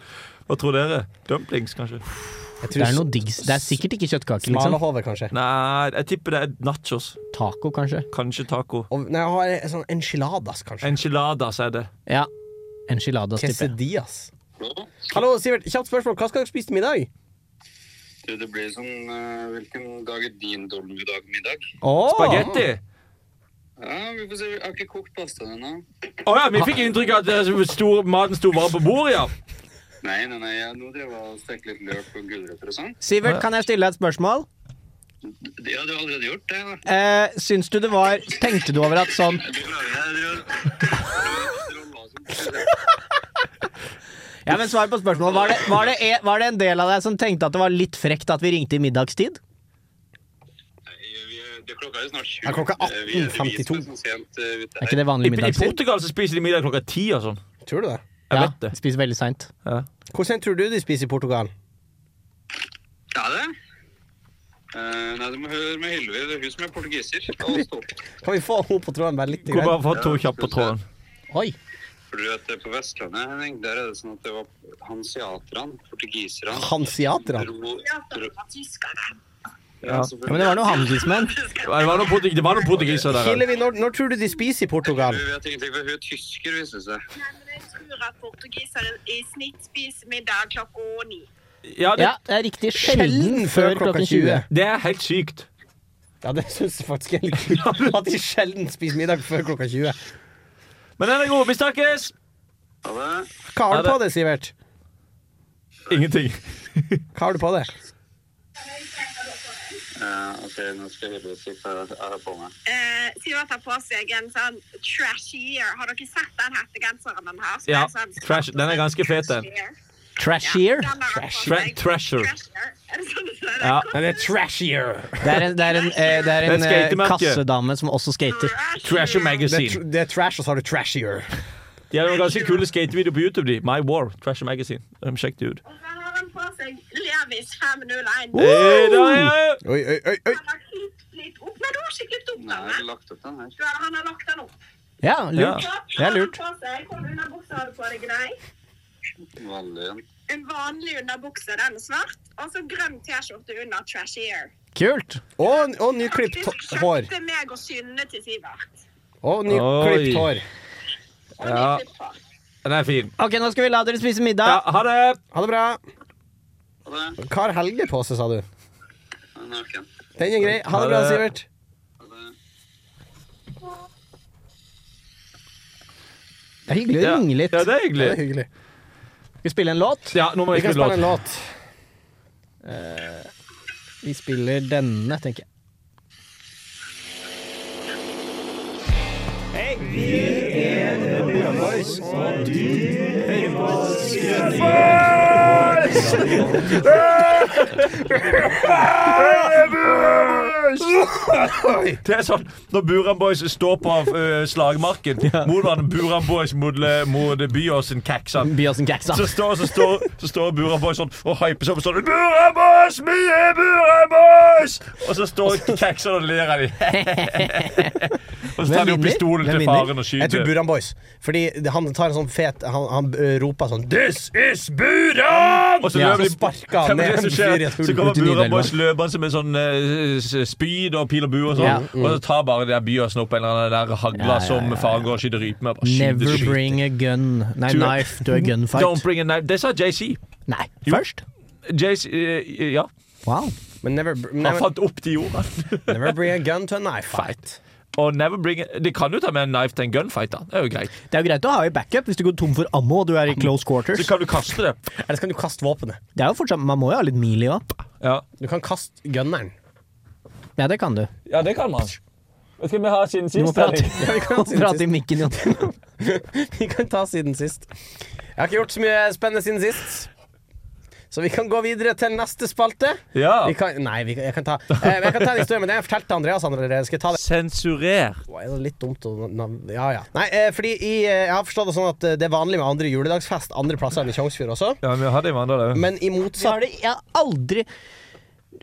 S2: Hva tror dere? Dumplings, kanskje?
S3: Jeg
S4: Det
S3: tror
S4: er noe diggs. Det er sikkert ikke kjøttkake, liksom.
S3: Smalahove, kanskje.
S2: Nei, jeg tipper det er nachos.
S4: Taco, kanskje.
S2: Kanskje taco.
S3: Og, nei, jeg har en sånn enchiladas, kanskje.
S2: Enchiladas er det.
S4: Ja. Enchiladas, tipper jeg.
S3: Quesadillas. Hallo, Sivert. Kjapt spørsmål. Hva skal dere spise til middag?
S12: Du, det blir sånn eh, Hvilken dag er din dårlige dag middag?
S3: Oh.
S2: Spagetti!
S12: Ja, vi får se. Jeg har ikke kokt pastaen ennå.
S2: Å ja, vi fikk inntrykk av at eh, stor, maten sto bare på bordet, ja.
S12: Nei, nei, nei. Jeg, nå driver jeg og steker litt løk og gulrøtter og sånn.
S4: Sivert, kan jeg stille deg et spørsmål?
S12: Det har du allerede gjort, det. da.
S4: Eh, syns du det var Tenkte du over at sånn
S12: Jeg beklager, jeg driver og-
S4: Ja, men svar på spørsmålet. Var det, var, det, e- var det en del av deg som tenkte at det var litt frekt at vi ringte i middagstid?
S12: Nei, vi er- Det klokka er jo snart 20.
S3: Ja, klokka
S12: Eh, vi er- Vi
S3: 18.52.
S12: er så sent eh, ute
S4: Er
S12: her.
S4: ikke det
S2: I,
S4: vanlig
S2: I
S4: middagstid?
S2: Portugal så spiser de middag klokka ti og sånn.
S3: Tror du det?
S4: Ja,
S2: Jeg vet det.
S4: spiser veldig seint.
S3: Hvor sent tror du de spiser i Portugal?
S12: Ja, det. Eh, nei, du må høre med Hylvi. Det er hun som er portugiser. Og stopp.
S3: Kan vi få henne på tråden bare litt?
S2: Kunne bare
S3: grann?
S2: fått to kjappe på tråden.
S3: Oi.
S12: For du vet, på Vestlandet, Henning, der er det sånn at det var hanseaterne, portugiserne
S3: Hansiaterne.
S12: dro, dro,
S11: Teater fra tyskerne.
S12: ja,
S4: Ja, men det var noen handelsmenn.
S2: Ja, Det var noen portug- det var noen portugiser der. ja.
S3: Hillevi, når, når tror du de spiser i Portugal?
S12: Hun vet ingenting, for hun er tysker, viser det seg.
S11: Nei, men jeg tror at portugisere i snitt spiser middag klokka ni.
S2: Ja, det,
S4: Ja, det er riktig. Sjelden før klokken 20.
S2: det er helt sykt.
S3: Ja, det syns jeg faktisk er litt kult. At de sjelden spiser middag før klokka 20.
S2: Men den er god. Vi snakkes!
S12: Ha det.
S3: Hva har
S2: Ja,
S3: du på deg, Sivert?
S2: Ingenting.
S3: Hva har du på deg?
S12: Ja, Eh, ok, nå skal jeg hylle si hva jeg har på meg.
S11: Eh, Sivert har på seg en sånn trashy year. Har dere sett den hettegenseren den har? Som
S2: Ja,
S11: er sånn-
S2: trash- den er ganske fet, den.
S4: Trashier.
S11: Ja, den har jeg på
S2: Tra
S11: meg.
S2: treasure.
S11: Trashier. Er det sånn du sier det?
S2: Ja.
S3: Den er trashier.
S4: Det er en, det er en, eh, det er
S2: Det er
S4: en eh,
S2: skatemerke.
S4: kassedame som også skater.
S11: Trashier.
S2: Treasure
S3: Det er, tr
S2: Magazine.
S3: det er trash, og så har du trashier.
S2: De har noen ganske kule skatevideoer på YouTube, de. My War. Treasure Magazine. Um, Sjekk det ut.
S11: Og så har han på seg Levis 501.
S2: Eh, der er jeg!
S3: Oi, oi, oi, oi.
S11: Han har klippet litt opp. Nei, du har ikke klippet opp
S12: Nei,
S11: den.
S12: jeg har
S11: nei.
S12: lagt opp den her.
S11: Du har- Han har lagt den opp.
S4: Ja,
S2: Ja.
S4: lurt. Det er lurt.
S11: Han har på seg- Hvilken underbukse har du på deg i dag?
S12: Veldig igjen.
S11: En vanlig underbukse, den er svart. Og så grønn T-skjorte under trashier.
S4: Kult.
S3: Og, og nyklipt
S11: Faktisk
S3: hå- hår.
S11: kjøpte meg og Synne til Sivert.
S3: Og
S2: Oi.
S3: nyklipt hår.
S11: Og
S2: Ja.
S11: de klippet på.
S2: Den er fin.
S4: Ok, nå skal vi la dere spise
S2: Ja,
S4: middag.
S2: ha det!
S3: Ha det bra.
S12: Ha det.
S3: Hva har Helge på seg, sa du?
S12: Jeg er naken.
S3: Den er grei. Ha det bra,
S2: Ha det.
S3: Sivert.
S12: Ha det.
S4: Det er hyggelig å
S2: Ja.
S4: ringe litt.
S2: Ja, det er
S3: Det er
S2: hyggelig.
S3: hyggelig.
S4: Skal vi spille en låt?
S2: Ja, nå må
S3: Vi
S2: jeg
S3: kan
S2: spille
S3: spille
S2: låt.
S3: en Eh, låt.
S4: Vi spiller denne, tenker jeg.
S2: Det er sånn når Buran Boys står på eh, slagmarken mot hverandre. Buran Boys mot, eh, mot Byåsen Kaksan.
S1: Byåsen Kaksa.
S2: sånn. Så står, så står, så står Buran Boys sånn og hyper seg opp sånn Buran Boys! Vi er Buran Boys! Og så står Kaksan og ler av dem. <laughs> og så tar de opp
S1: vinner?
S2: pistolen
S1: Hvem
S2: til
S1: vinner?
S2: faren og
S3: Jeg tror
S2: skyter.
S3: Buran Boys. Fordi han tar en sånn fet Han, han ø, roper sånn Død!
S2: This is Buran! Og så
S3: Ja,
S2: løper
S3: så
S2: de
S3: sparker han
S2: Ja, men
S3: ned
S2: det
S3: en
S2: som
S3: fyr i
S2: skjer,
S3: et
S2: så
S3: hull.
S2: kommer
S1: ute i
S2: Buran
S1: Nidelva.
S2: Boys løpende som en sånn eh, s- spyd og pil og bue og sånn,
S1: Ja,
S2: og så tar bare de der Byåsen opp en eller annen der hagla
S1: Ja, ja,
S2: som
S1: ja,
S2: faren går og skyter rype med. Bare skyter,
S1: Never
S2: skyter.
S1: bring a gun Nei,
S2: Du-
S1: knife to a <laughs>
S2: Don't
S1: gunfight.
S2: bring a knife. Det sa JC.
S1: Nei, først?
S2: JC eh, ja,
S1: Wow.
S3: Men never, br-
S2: han
S3: never,
S2: fant opp de ordene. <laughs>
S3: never bring a gun to a knife fight.
S2: Og never bring a, De kan jo ta med en knife til en gunfight, da. Det er jo greit.
S1: Det er jo greit å ha i backup hvis du går tom for ammo og du er i close
S2: Så
S1: quarters.
S2: kan du kaste det.
S3: Eller så kan du kaste våpenet.
S1: Det er jo fortsatt, Man må jo ha litt mil i òg.
S2: Ja,
S3: Du kan kaste gunneren.
S1: Ja, det kan du.
S2: det kan man. Skal vi ha siden
S1: Du må
S2: sist?
S1: prate,
S3: Ja, vi kan,
S1: <laughs> prate i mikken, Jon.
S3: <laughs> vi kan ta siden sist. Jeg har ikke gjort så mye spennende siden sist. Så vi kan gå videre til neste spalte.
S2: Ja.
S3: Vi kan, nei, vi kan, jeg, kan ta, eh, jeg kan ta en historie, men jeg fortalte Andreas allerede. Skal jeg ta det?
S5: Sensurert.
S3: Wow, er det litt dumt å nav- Ja, ja. Nei, eh, fordi i, eh, jeg har forstått det sånn at eh, det er vanlig med andre juledagsfest andre plasser enn i Tjongsfjord også.
S2: Ja, vi har det i Mandal òg.
S3: Men i
S1: Så
S3: motsatt
S1: er det Jeg har aldri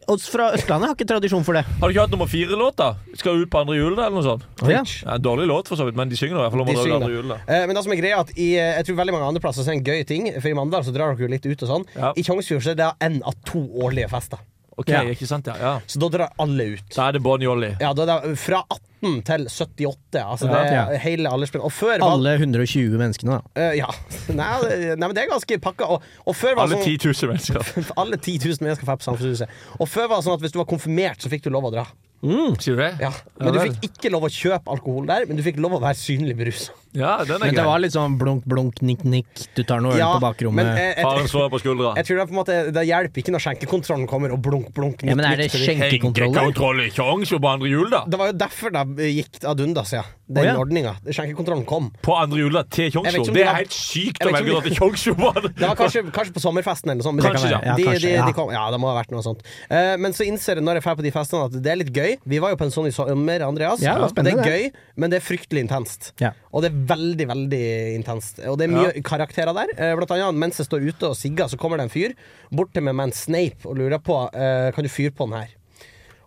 S1: Oss fra Østlandet har ikke tradisjon for det.
S2: Har du ikke hatt nummer fire-låt, da? Skal ut på andre julen, eller noe sånt?
S1: Ja.
S2: Ja, en dårlig låt, for så vidt, men de synger i hvert fall om
S3: De
S2: å dra ut
S3: synger.
S2: andre julen. da.
S3: Eh, Men det som er greia er at i, eh, jeg tror veldig mange andre plasser så er det en gøy ting, for i Mandal så drar dere jo litt ut og sånn.
S2: Ja.
S3: I Tjongsfjord så er det én av to årlige fester.
S2: Ok,
S1: Ja.
S2: ikke sant, ja. ja.
S3: Så da drar alle ut.
S2: Da er det Bon Jolly.
S3: Ja, da er det fra 18 til 78. Altså det
S1: Ja.
S3: er hele aldersspennet. Og før var
S1: Alle 120 menneskene, da.
S3: eh, Ja. <laughs> Nei, det- nei, men det er ganske pakka. Og, og før var
S2: Alle
S3: det
S2: 10 000 mennesker.
S3: sånn alle 10 000 mennesker får på Samfunnshuset. Og før var det sånn at hvis du var konfirmert, så fikk du lov å dra.
S2: Sier du det?
S3: Ja. Men du
S2: vel.
S3: fikk ikke lov å kjøpe alkohol der, men du fikk lov å være synlig berusa.
S2: Ja, den er
S1: Men det
S2: grei.
S1: var litt sånn blunk, blunk, nikk, nikk. Du tar noe øl på bakrommet.
S3: men eh, jeg,
S2: Faren slår deg på skuldra.
S3: Jeg tror det, er på en måte, det hjelper ikke når skjenkekontrollen kommer og blunk, blunk.
S1: ja, men
S3: nikk,
S1: er det
S3: nikk til de-
S1: skjenkekontroller?
S2: Kontroll i Tjongs og på andre jul, da.
S3: det var jo derfor det gikk ad undas, ja. Den
S1: Å, ja.
S3: ordninga. Skjenkekontrollen kom.
S2: På andre jul da, til
S3: Jeg vet ikke
S2: Tjongsfjord.
S3: om
S2: Det
S3: de
S2: er
S3: har-
S2: helt sykt
S3: Jeg
S2: å
S3: vet
S2: velge
S3: ikke
S2: å
S3: om
S2: dra til Tjongsfjord på andre
S3: Det var kanskje, kanskje på sommerfesten eller noe sånt. men-
S2: Kanskje, ja.
S1: Ja,
S3: De, de,
S1: kanskje, ja.
S3: de kom, ja, det må ha vært noe sånt. Eh, men så innser jeg når jeg drar på de festene at det er litt gøy. Vi var jo på en sånn i sommer, Andreas.
S1: Ja, det var spennende,
S3: er gøy, men det er fryktelig intenst.
S1: Ja.
S3: Og det er veldig, veldig intenst. Og det er mye karakterer der. Eh, Blant annet mens jeg står ute og sigger, så kommer det en fyr bort til meg med en sneip og lurer på eh, Kan du fyre på den her.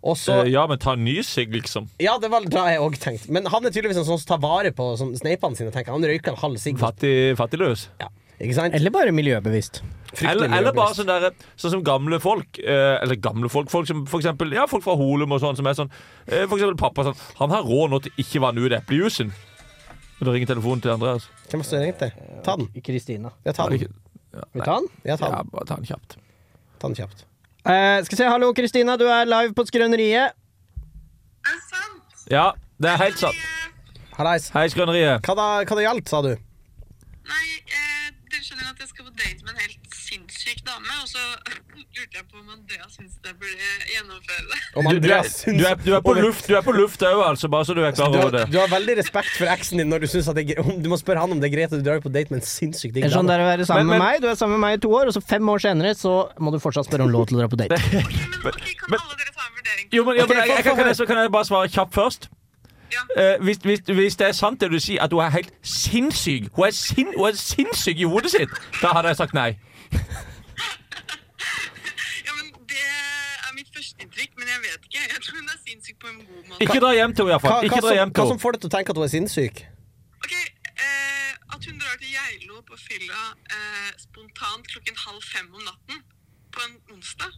S3: Og så
S2: Eh, Ja, men ta en ny sigg, liksom.
S3: Ja, det var da jeg òg tenkte. Men han er tydeligvis en sånn som tar vare på sånn, sneipene sine. Tenker. jeg. Han røyker en halv sigg.
S2: Fattig, fattigløs.
S3: Ja. Ikke sant?
S1: Eller bare miljøbevisst.
S2: Eller, eller bare sånn der, sånn som gamle folk. Eh, eller gamle folk, folk som for eksempel, ja, folk fra Holum og sånn, som er sånn eh, For eksempel pappa sånn Han har råd nå til ikke vanne ut eplejuicen. Og Da ringer telefonen til Andreas.
S3: Hvem var det som ringte? Ta den.
S1: Kristina.
S3: Ja, ta
S2: Er det
S3: den.
S2: ikke-
S3: Vil du ta den? Ja, ta
S2: Ja,
S3: den.
S2: bare ta den kjapt.
S3: Ta den kjapt.
S1: Eh, skal vi se, hallo Kristina, du er live på Skrøneriet.
S11: Er det sant?
S2: Ja, det er helt sant.
S3: Hallais.
S2: Hei, Skrøneriet.
S3: Hva da, hva da gjaldt, sa du?
S11: Nei, eh, dere skjønner at jeg skal på date med en helt sinnssyk dame, og så <laughs> lurte jeg på om Andreas syntes jeg burde gjennomføre det. <laughs>
S2: Du, du,
S3: Om
S2: er,
S3: Andreas syns-
S2: du, er, du er på
S3: om-
S2: luft Du er på luft òg, altså, bare så du er klar
S3: Du
S2: over
S3: har,
S2: det.
S3: du har veldig respekt for eksen din når du syns at det er gre- om- Du må spørre han om det er greit at du drar på date med en sinnssyk digg
S1: Eller sånn
S3: dame.
S1: der å være sammen
S2: Men- men-
S1: med meg. Du er sammen med meg i to år, og så fem år senere så må du fortsatt spørre om lov til å dra på
S3: <laughs>
S1: date.
S11: Ok, men ok, kan alle dere ta en vurdering?
S2: Jo, men, ja, men jeg,
S3: Ok,
S2: jeg, kan,
S3: få- få
S2: kan,
S3: høre.
S2: jeg, så kan jeg bare svare kjapt først?
S11: Ja.
S2: Eh, hvis, hvis, hvis det er sant det du sier, at hun er helt sinnssyk Hun er, sin, hun er sinnssyk i hodet sitt, da hadde jeg sagt nei.
S11: Ja, men det er mitt førsteinntrykk, men jeg vet ikke. Jeg tror hun er sinnssyk på en god måte.
S2: Ikke dra hjem til henne,
S3: Hva,
S2: iallfall.
S3: hva,
S2: Ikke dra
S3: som,
S2: hjem
S3: hva
S2: til
S3: som
S2: henne.
S3: får deg til å tenke at hun er sinnssyk?
S11: Ok, eh, at hun drar til Geilo på fylla eh, spontant klokken halv fem om natten på en onsdag.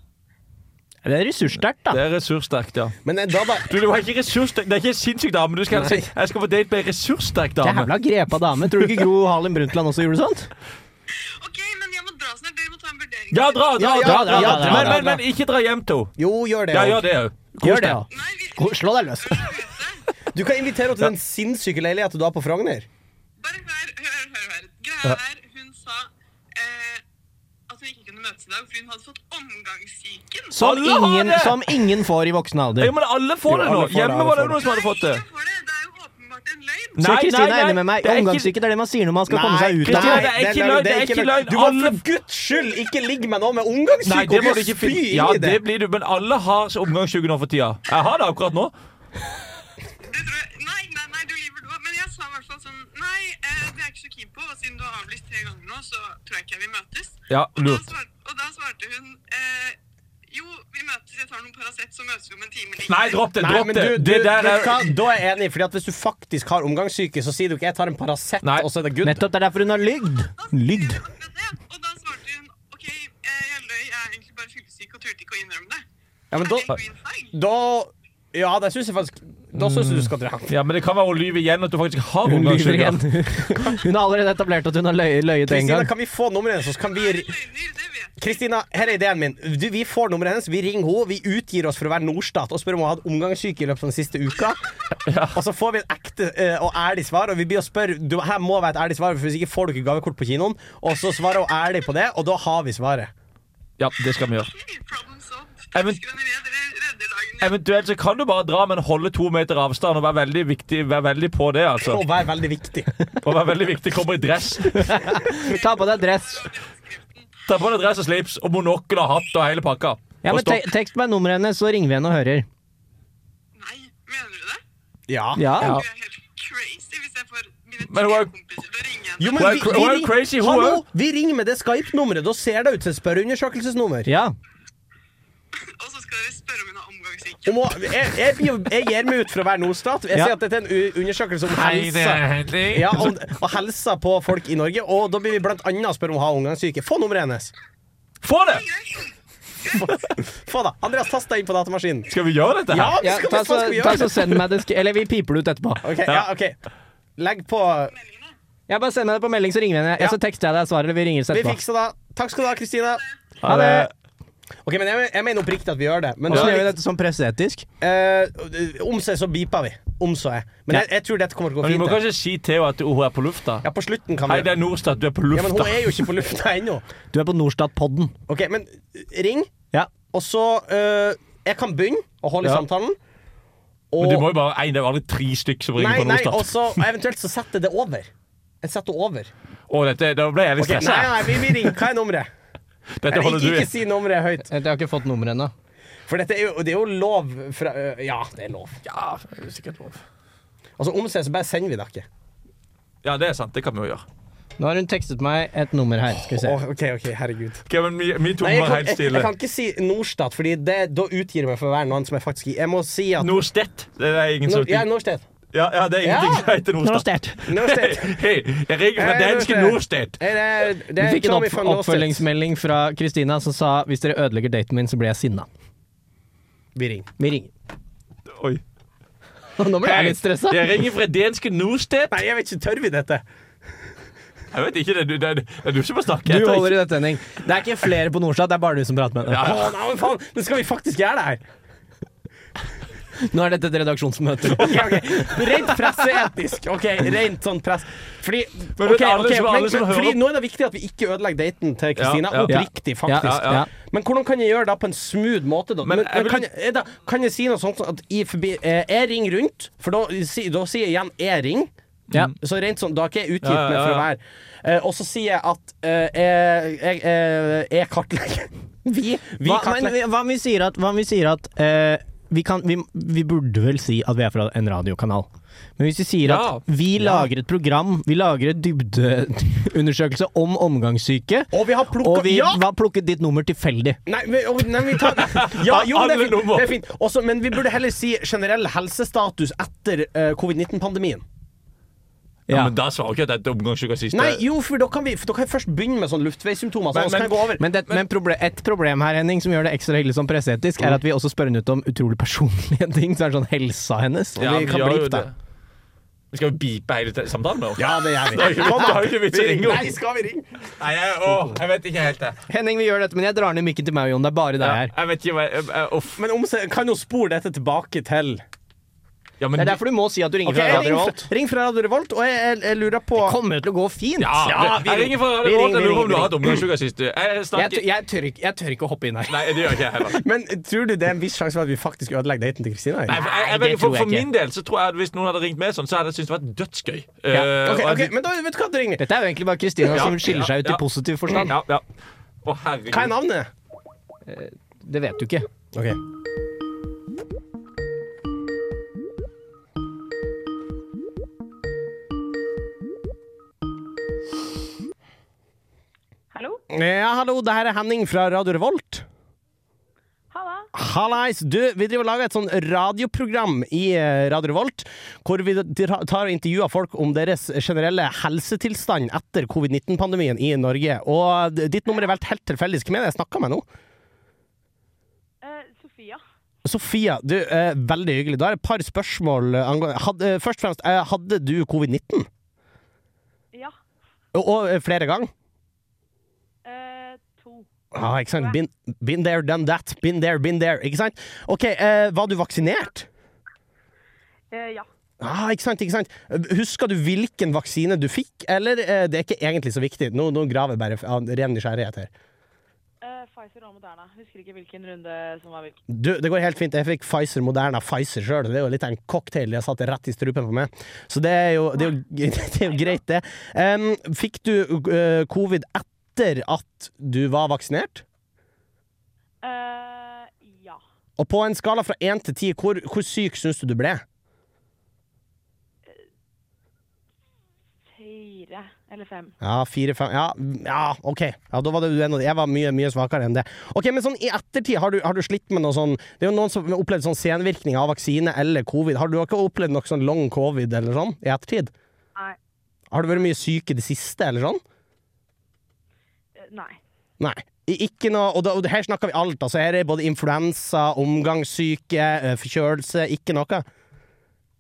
S1: Det er ressurssterkt, da.
S2: Det er ressurssterkt, ja.
S3: Men eh, da, da
S2: Du, du er ikke ressurssterk Det er ikke en sinnssyk dame. Du skal,
S3: Nei.
S2: si, jeg skal på date med ei ressurssterk dame.
S1: Jævla grepa dame. Tror du ikke Gro Harlem Brundtland også gjorde
S3: <laughs>
S1: sånt?
S11: Ok, men jeg må dra snart. Dere må ta en vurdering.
S2: Ja, dra, dra,
S1: Ja, ja,
S2: dra!
S1: dra, dra, dra,
S2: Men,
S1: dra,
S2: men, men ikke dra hjem til henne.
S3: Jo, gjør det.
S2: Ja,
S3: også.
S2: gjør det òg.
S1: Gjør det, ja.
S11: Nei, virkelig.
S1: Gå- Slå deg løs.
S11: Hør, ute.
S3: Du kan invitere henne til den sinnssyke leiligheten du har på Frogner.
S11: Bare hør, hør, hør. hør. Greia er, hun sa eh, at hun ikke kunne møtes i dag fordi hun hadde fått omgangssyken.
S1: Som
S2: Alle har
S1: ingen,
S2: det!
S1: som ingen får i voksen
S2: Ja,
S1: alder.
S2: men alle får det
S3: Jo,
S2: nå.
S3: alle får det,
S2: Hjemme
S3: alle
S2: var det
S3: får
S2: noen som hadde fått det.
S11: Nei, ingen får det. Det er jo åpenbart en løgn.
S13: Så
S2: Nei,
S13: Kristine
S2: nei,
S13: er enig
S2: nei,
S13: med meg.
S2: det er ikke-
S13: Omgangssyke det er det man sier når man skal komme seg ut av
S2: Kristine,
S13: det.
S2: det er ikke
S3: Nei,
S2: løgn, det er
S3: ikke
S2: ikke løgn.
S3: Du må
S2: Alle-
S3: for guds skyld ikke ligge med noe med
S2: Nei,
S3: omgangssyke!
S2: det må du
S3: og
S2: ikke finne.
S3: spy
S2: Ja,
S3: i
S2: det blir du, men alle har omgangssyke nå for tida. Jeg har det akkurat nå.
S11: Det tror jeg, nei, nei, nei, du lyver. du også. Men jeg sa i hvert fall sånn Nei, eh, det er jeg ikke så keen på. Og siden du har avlyst tre ganger nå, så tror jeg ikke jeg vil møtes.
S2: Ja,
S11: Og da,
S2: lurt.
S11: svar, og da svarte hun eh, Jo, vi møtes. Jeg tar noen Paracet, så møtes vi om en time. likevel.»
S2: Nei, dropp det!
S3: Nei,
S2: Dropp
S3: men
S2: det!
S3: du, du,
S2: Det der
S3: vet du
S2: er
S3: hva? Da er jeg enig, Fordi at hvis du faktisk har omgangssyke, så sier du ikke 'jeg tar en Paracet',
S2: Nei.
S3: og så er det good.
S4: Nettopp, det er derfor hun har lygd.
S11: Da skulle vi ordne det, Og da svarte hun OK, eh, jeg løy. Jeg er egentlig bare fyllesyk og turte ikke å innrømme det.
S3: Ja, men
S11: Er
S3: da,
S11: det green flag?
S3: da Ja, det syns jeg faktisk Da syns jeg du skal dra.
S4: Mm.
S2: Ja, men det kan være hun lyver igjen at du faktisk har
S4: Hun lyver igjen. <laughs>
S2: omgangssyke.
S4: Hun har allerede etablert at hun har løy- løyet en
S3: Kristina,
S4: gang.
S3: kan vi få nummeret hennes, og så kan vi ri-
S11: Løgner, det vet jeg.
S3: Kristina, her er ideen min. Du, vi får nummeret hennes, vi ringer henne, vi utgir oss for å være Nordstat og spør om hun har hatt omgangssyke i løpet av den siste
S2: <laughs>
S3: uka. Og så får vi et ekte eh, og ærlig svar, og vi blir og spør du, Her må være et ærlig svar, for hvis ikke får du ikke gavekort på kinoen. Og så svarer hun ærlig på det, og da har vi svaret.
S2: Ja, det skal vi gjøre.
S11: Ok, Problem solved.
S2: Ja, men-
S11: Skrøneriet, dere redder dagen. min.
S2: Eventuelt så kan du bare dra, men holde to meter avstand og være veldig viktig, være veldig på det. altså.
S3: Og være veldig viktig.
S2: Og være veldig viktig, Komme i dress.
S4: Ta på deg dress.
S2: Ta på deg dress og slips og monokkel og hatt og hele pakka.
S4: Ja,
S2: Og
S4: men te
S2: stokk.
S4: Tekst meg nummeret hennes, så ringer vi henne og hører.
S11: Nei, mener du det?
S3: Ja.
S4: Ja.
S2: Ja.
S11: Du er helt crazy hvis jeg får mine
S2: Men hun
S11: tre
S2: er-
S11: kompiser til å ringe henne.
S3: Jo, men
S2: Hun er
S3: vi,
S2: cra-
S3: vi,
S2: hun er
S3: ring-
S2: crazy, hun
S3: Hallo,
S2: også.
S3: vi ringer med det Skype-nummeret. Da ser det ut som et spørreundersøkelsesnummer.
S4: ja.
S11: Og så skal dere spørre om hun er omgangssyk.
S3: Om hun- Jeg, jeg, blir- jeg gir meg ut for å være Nordstat. Jeg
S4: Ja.
S3: ser at dette er en u- undersøkelse om helsa. Ja, om, og helsa på folk i Norge. Og da blir vi blant annet spørre om hun har omgangssyke. Få nummeret hennes.
S2: Få det!
S3: Få da. Andreas, tast deg inn på datamaskinen.
S2: Skal vi gjøre dette
S3: Ja,
S2: her?
S3: vi
S4: ja
S3: skal,
S4: ta,
S3: hvis
S4: så,
S3: man skal
S4: ta
S3: gjøre
S4: så
S3: det.
S4: send meg det sk Eller vi piper det ut etterpå.
S3: Ok, ja, ok. Legg på.
S4: Ja, Bare send meg det på melding, så ringer vi henne.
S3: Ja.
S4: Ja. Så tekster jeg deg svaret, eller vi ringer
S3: Vi
S4: etterpå.
S3: fikser det. Takk skal du ha, Kristina.
S4: Ha det.
S3: Ok, men jeg, jeg mener oppriktig at vi gjør det. Men
S4: Åssen
S3: da-
S4: gjør vi dette sånn presseetisk?
S3: eh, om så er, så beeper vi. Om så er. Men jeg, jeg tror dette kommer til å gå
S2: Men vi må
S3: fint. det.
S2: kanskje si til henne at hun er på lufta?
S3: Ja, på slutten kan
S2: Nei,
S3: vi
S2: det er Norstat, du er på
S3: Ja, men hun
S2: lufta.
S3: er jo ikke på lufta ennå.
S4: Du er på Norstat-podden.
S3: Ok, men eh, ring,
S4: Ja.
S3: og så eh, Jeg kan begynne å holde i
S2: Ja.
S3: samtalen.
S2: Men
S3: Og
S2: det må jo bare en, det er jo aldri tre stykk som
S3: Nei,
S2: ringer på
S3: nei, og
S2: Norstat.
S3: så og eventuelt så setter jeg det over. Jeg setter det over.
S2: Å, dette, da ble jeg litt
S3: Ok, nei,
S2: stressa.
S3: nei, vi, vi ringer. Hva er
S2: <laughs>
S3: nummeret?
S2: Dette
S3: Eller,
S2: holder
S3: ikke,
S2: du i.
S3: ikke si nummeret høyt.
S4: Jeg har ikke fått nummeret ennå.
S3: For dette er jo, det er jo lov fra øh, Ja, det er lov.
S2: Ja, det er sikkert lov.
S3: Altså Om seg så bare sender vi det ikke.
S2: Ja, det er sant. Det kan vi jo gjøre.
S4: Nå har hun tekstet meg et nummer her. Skal vi se.
S3: Åh, OK, ok, herregud.
S2: Ok, men mi- Min
S3: Nei,
S2: tunge
S3: jeg,
S2: var
S3: kan,
S2: helt
S3: jeg, jeg
S2: stille.
S3: kan ikke si Norstat, Fordi det, da utgir jeg meg for å være noen som jeg faktisk ikke Jeg må si at
S2: Norstedt. Det er ingen som
S3: Nor- Ja, Norstedt.
S2: Ja, ja, det er ingenting
S3: Ja.
S2: som heter Norstedt.
S4: Norstat.
S3: Norstedt.
S2: <laughs> Hei, jeg ringer fra
S3: Hei,
S2: danske
S3: Norstedt.
S2: Norstedt.
S3: Nei, Det er, det
S4: Eh, Vi
S3: er
S4: fikk en
S3: Tommy
S4: opp
S3: fra Norstedt.
S4: oppfølgingsmelding fra Kristina som sa hvis dere ødelegger daten min, så blir jeg sinna.
S3: Vi ringer.
S4: Vi ringer.
S2: Oi.
S4: Nå ble jeg litt stressa.
S2: Jeg ringer fra danske Norstedt.
S3: Nei, jeg vet ikke. Tør vi dette?
S2: Jeg vet ikke, det er du, det er, det er du som må
S4: Du
S2: snakke. jeg tar
S4: holder
S2: ikke-
S4: i dette, Henning. Det er ikke flere på Norstat, det er bare du som prater med henne.
S2: Ja,
S3: Å, nei, men faen, nå skal vi faktisk gjøre det her!
S4: Nå er dette et redaksjonsmøte.
S3: Ok, ok, Rent presseetisk. Ok, rent sånn press... Fordi,
S2: Men vet
S3: ok,
S2: alle
S3: ok,
S2: som- alle som hører-
S3: fordi Nå er det viktig at vi ikke ødelegger daten til Kristina.
S2: Ja, ja.
S3: Oppriktig, faktisk.
S4: Ja, ja, ja.
S3: Men hvordan kan jeg gjøre det på en smooth måte? Da?
S2: Men
S3: Men, men,
S2: jeg vil-
S3: kan, jeg, da, kan jeg si noe sånt som at i forbi, eh, jeg ringer rundt, for da, si, da sier jeg igjen 'jeg ringer'.
S4: Ja.
S3: Så rent sånn, Da er ikke jeg
S2: Ja,
S3: utgitt
S2: ja,
S3: meg
S2: ja,
S3: for å
S2: ja.
S3: være eh, Og så sier jeg at eh, jeg, jeg, jeg, jeg kartlegger. <laughs> Vi, vi
S4: Hva, men,
S3: kartlegger.
S4: hva om vi sier at, hva om vi, sier at eh, vi, kan, vi, vi burde vel si at vi er fra en radiokanal. Men hvis vi sier
S2: Ja.
S4: at vi lager et program, vi lager et dybdeundersøkelse om omgangssyke,
S3: Og vi har
S4: og
S3: plukka
S4: vi hva plukket ditt nummer tilfeldig
S3: Nei, vi, å, nei, vi tar ja, jo, det er
S2: Alle
S3: fint.
S2: nummer.
S3: Det er fint. Også, men vi burde heller si generell helsestatus etter eh, covid-19-pandemien.
S2: Ja,
S4: Ja.
S2: men da svarer jo ikke at det er omgangssyke siste.
S3: Nei, jo, for da kan vi for da kan jeg først begynne med sånn luftveissymptomer.
S2: Men-
S3: Så, og så kan
S2: men-
S3: jeg gå over.
S4: Men, det, men proble et problem her, Henning, som gjør det ekstra hyggelig som presseetisk,
S2: Mm.
S4: er at vi også spør henne ut om utrolig personlige <laughs> ting. Så er det sånn helsa hennes.
S2: Ja,
S3: vi
S2: men
S3: kan
S2: gjør jo
S3: blipe
S2: det. Vi skal jo beepe hele te- samtalen nå.
S3: ja, det
S2: Det
S3: gjør
S2: er jo
S3: vi.
S2: ikke-
S3: Kom,
S2: det er jo
S3: da.
S2: ikke vits i å ringe
S3: Nei, skal vi ringe?
S2: Nei, jeg, å, jeg vet ikke helt det.
S4: Henning, vi gjør dette, men jeg drar ned mikken til meg og Jon. Det er bare deg
S2: Ja,
S4: her.
S2: jeg vet ikke hva jeg, jeg, Uff.
S3: Men om, se- kan jo spore dette tilbake til
S2: Ja, men
S1: Det er derfor du må si at du ringer
S3: Ok,
S1: fra Radio
S3: ring,
S1: Revolt.
S3: ring fra Radio Revolt, og jeg, jeg, jeg lurer på
S1: Kommer jo til å gå fint.
S2: Ja, vi, jeg ringer fra
S1: vi
S2: Radio Revolt.
S1: ringer,
S2: Jeg lurer på om
S1: vi
S2: du
S1: ringer.
S2: har hatt omgangsuka sist. du. Jeg
S1: Jeg,
S2: snakker
S1: tør- jeg, tør ikke, jeg tør ikke å hoppe inn her.
S2: Nei, det gjør ikke jeg heller.
S3: Men tror du det er en viss sjanse for at vi faktisk ødelegger daten til Kristina?
S2: Nei,
S3: Erik?
S2: for,
S1: Nei,
S2: jeg, jeg,
S1: det
S2: velger- for,
S1: tror jeg
S2: for
S1: ikke.
S2: min del så tror jeg at hvis noen hadde ringt meg sånn, så hadde jeg syntes det var dødsgøy. Eh,
S3: Ok,
S2: og at
S3: ok,
S2: vi-
S3: men da vet du hva du ringer.
S1: Dette er jo egentlig bare Kristina
S2: Ja,
S1: som skiller seg ut
S2: ja, ja.
S1: i positiv forstand.
S2: Ja, ja. Å,
S3: Hva er
S2: herregud.
S3: navnet?
S1: Det vet du ikke.
S3: Ok
S7: Hallo?
S3: Ja, hallo, det her er Henning fra Radio Revolt.
S7: Halla.
S3: Hallais! Du, vi driver og lager et sånn radioprogram i eh, Radio Revolt, hvor vi dra- tar og intervjuer folk om deres generelle helsetilstand etter covid-19-pandemien i Norge. Og d- ditt nummer er valgt helt tilfeldig. Hvem er det jeg snakker med nå?
S7: Eh, Sofia.
S3: Sofia, du, eh, veldig hyggelig. Da er det et par spørsmål eh, angående hadde, Først og fremst, eh, hadde du covid-19?
S7: Ja.
S3: Og, og eh, flere ganger?
S7: Eh, to.
S3: Ja, ikke sant? Been, been there, done that. Been there, been there. Ikke sant? OK, eh, var du vaksinert?
S7: Eh, ja.
S3: Ah, ikke sant, ikke sant. Husker du hvilken vaksine du fikk, eller eh, det er ikke egentlig så viktig? Nå, nå graver jeg bare av ren nysgjerrighet her.
S7: Eh, Pfizer og Moderna. Husker ikke hvilken runde som var hvilken.
S3: Du, det går helt fint. Jeg fikk Pfizer Moderna Pfizer sjøl. Det er jo litt av en cocktail de har satt rett i strupen på meg. Så det er jo, det er jo, <laughs> det er jo greit, det. Em, fikk du eh, covid etter at du var vaksinert?
S7: Eh, ja.
S3: Og på en skala fra én til ti, hvor, hvor syk syns du du ble?
S7: Fire eller fem.
S3: Ja, fire, fem Ja, ja OK. Ja, da var det du en av de. Jeg var mye, mye svakere enn det. Ok, Men sånn i ettertid, har du, har du slitt med noe sånn Det er jo noen som har opplevd sånn senvirkninger av vaksine eller covid. Har du ikke opplevd noe sånn long covid eller sånn i ettertid?
S7: Nei.
S3: Har du vært mye syk i det siste eller sånn?
S7: Eh, nei.
S3: Nei. I- Ikke noe, og, da, og her snakker vi alt, altså. Her er både influensa, omgangssyke, eh, forkjølelse, ikke noe.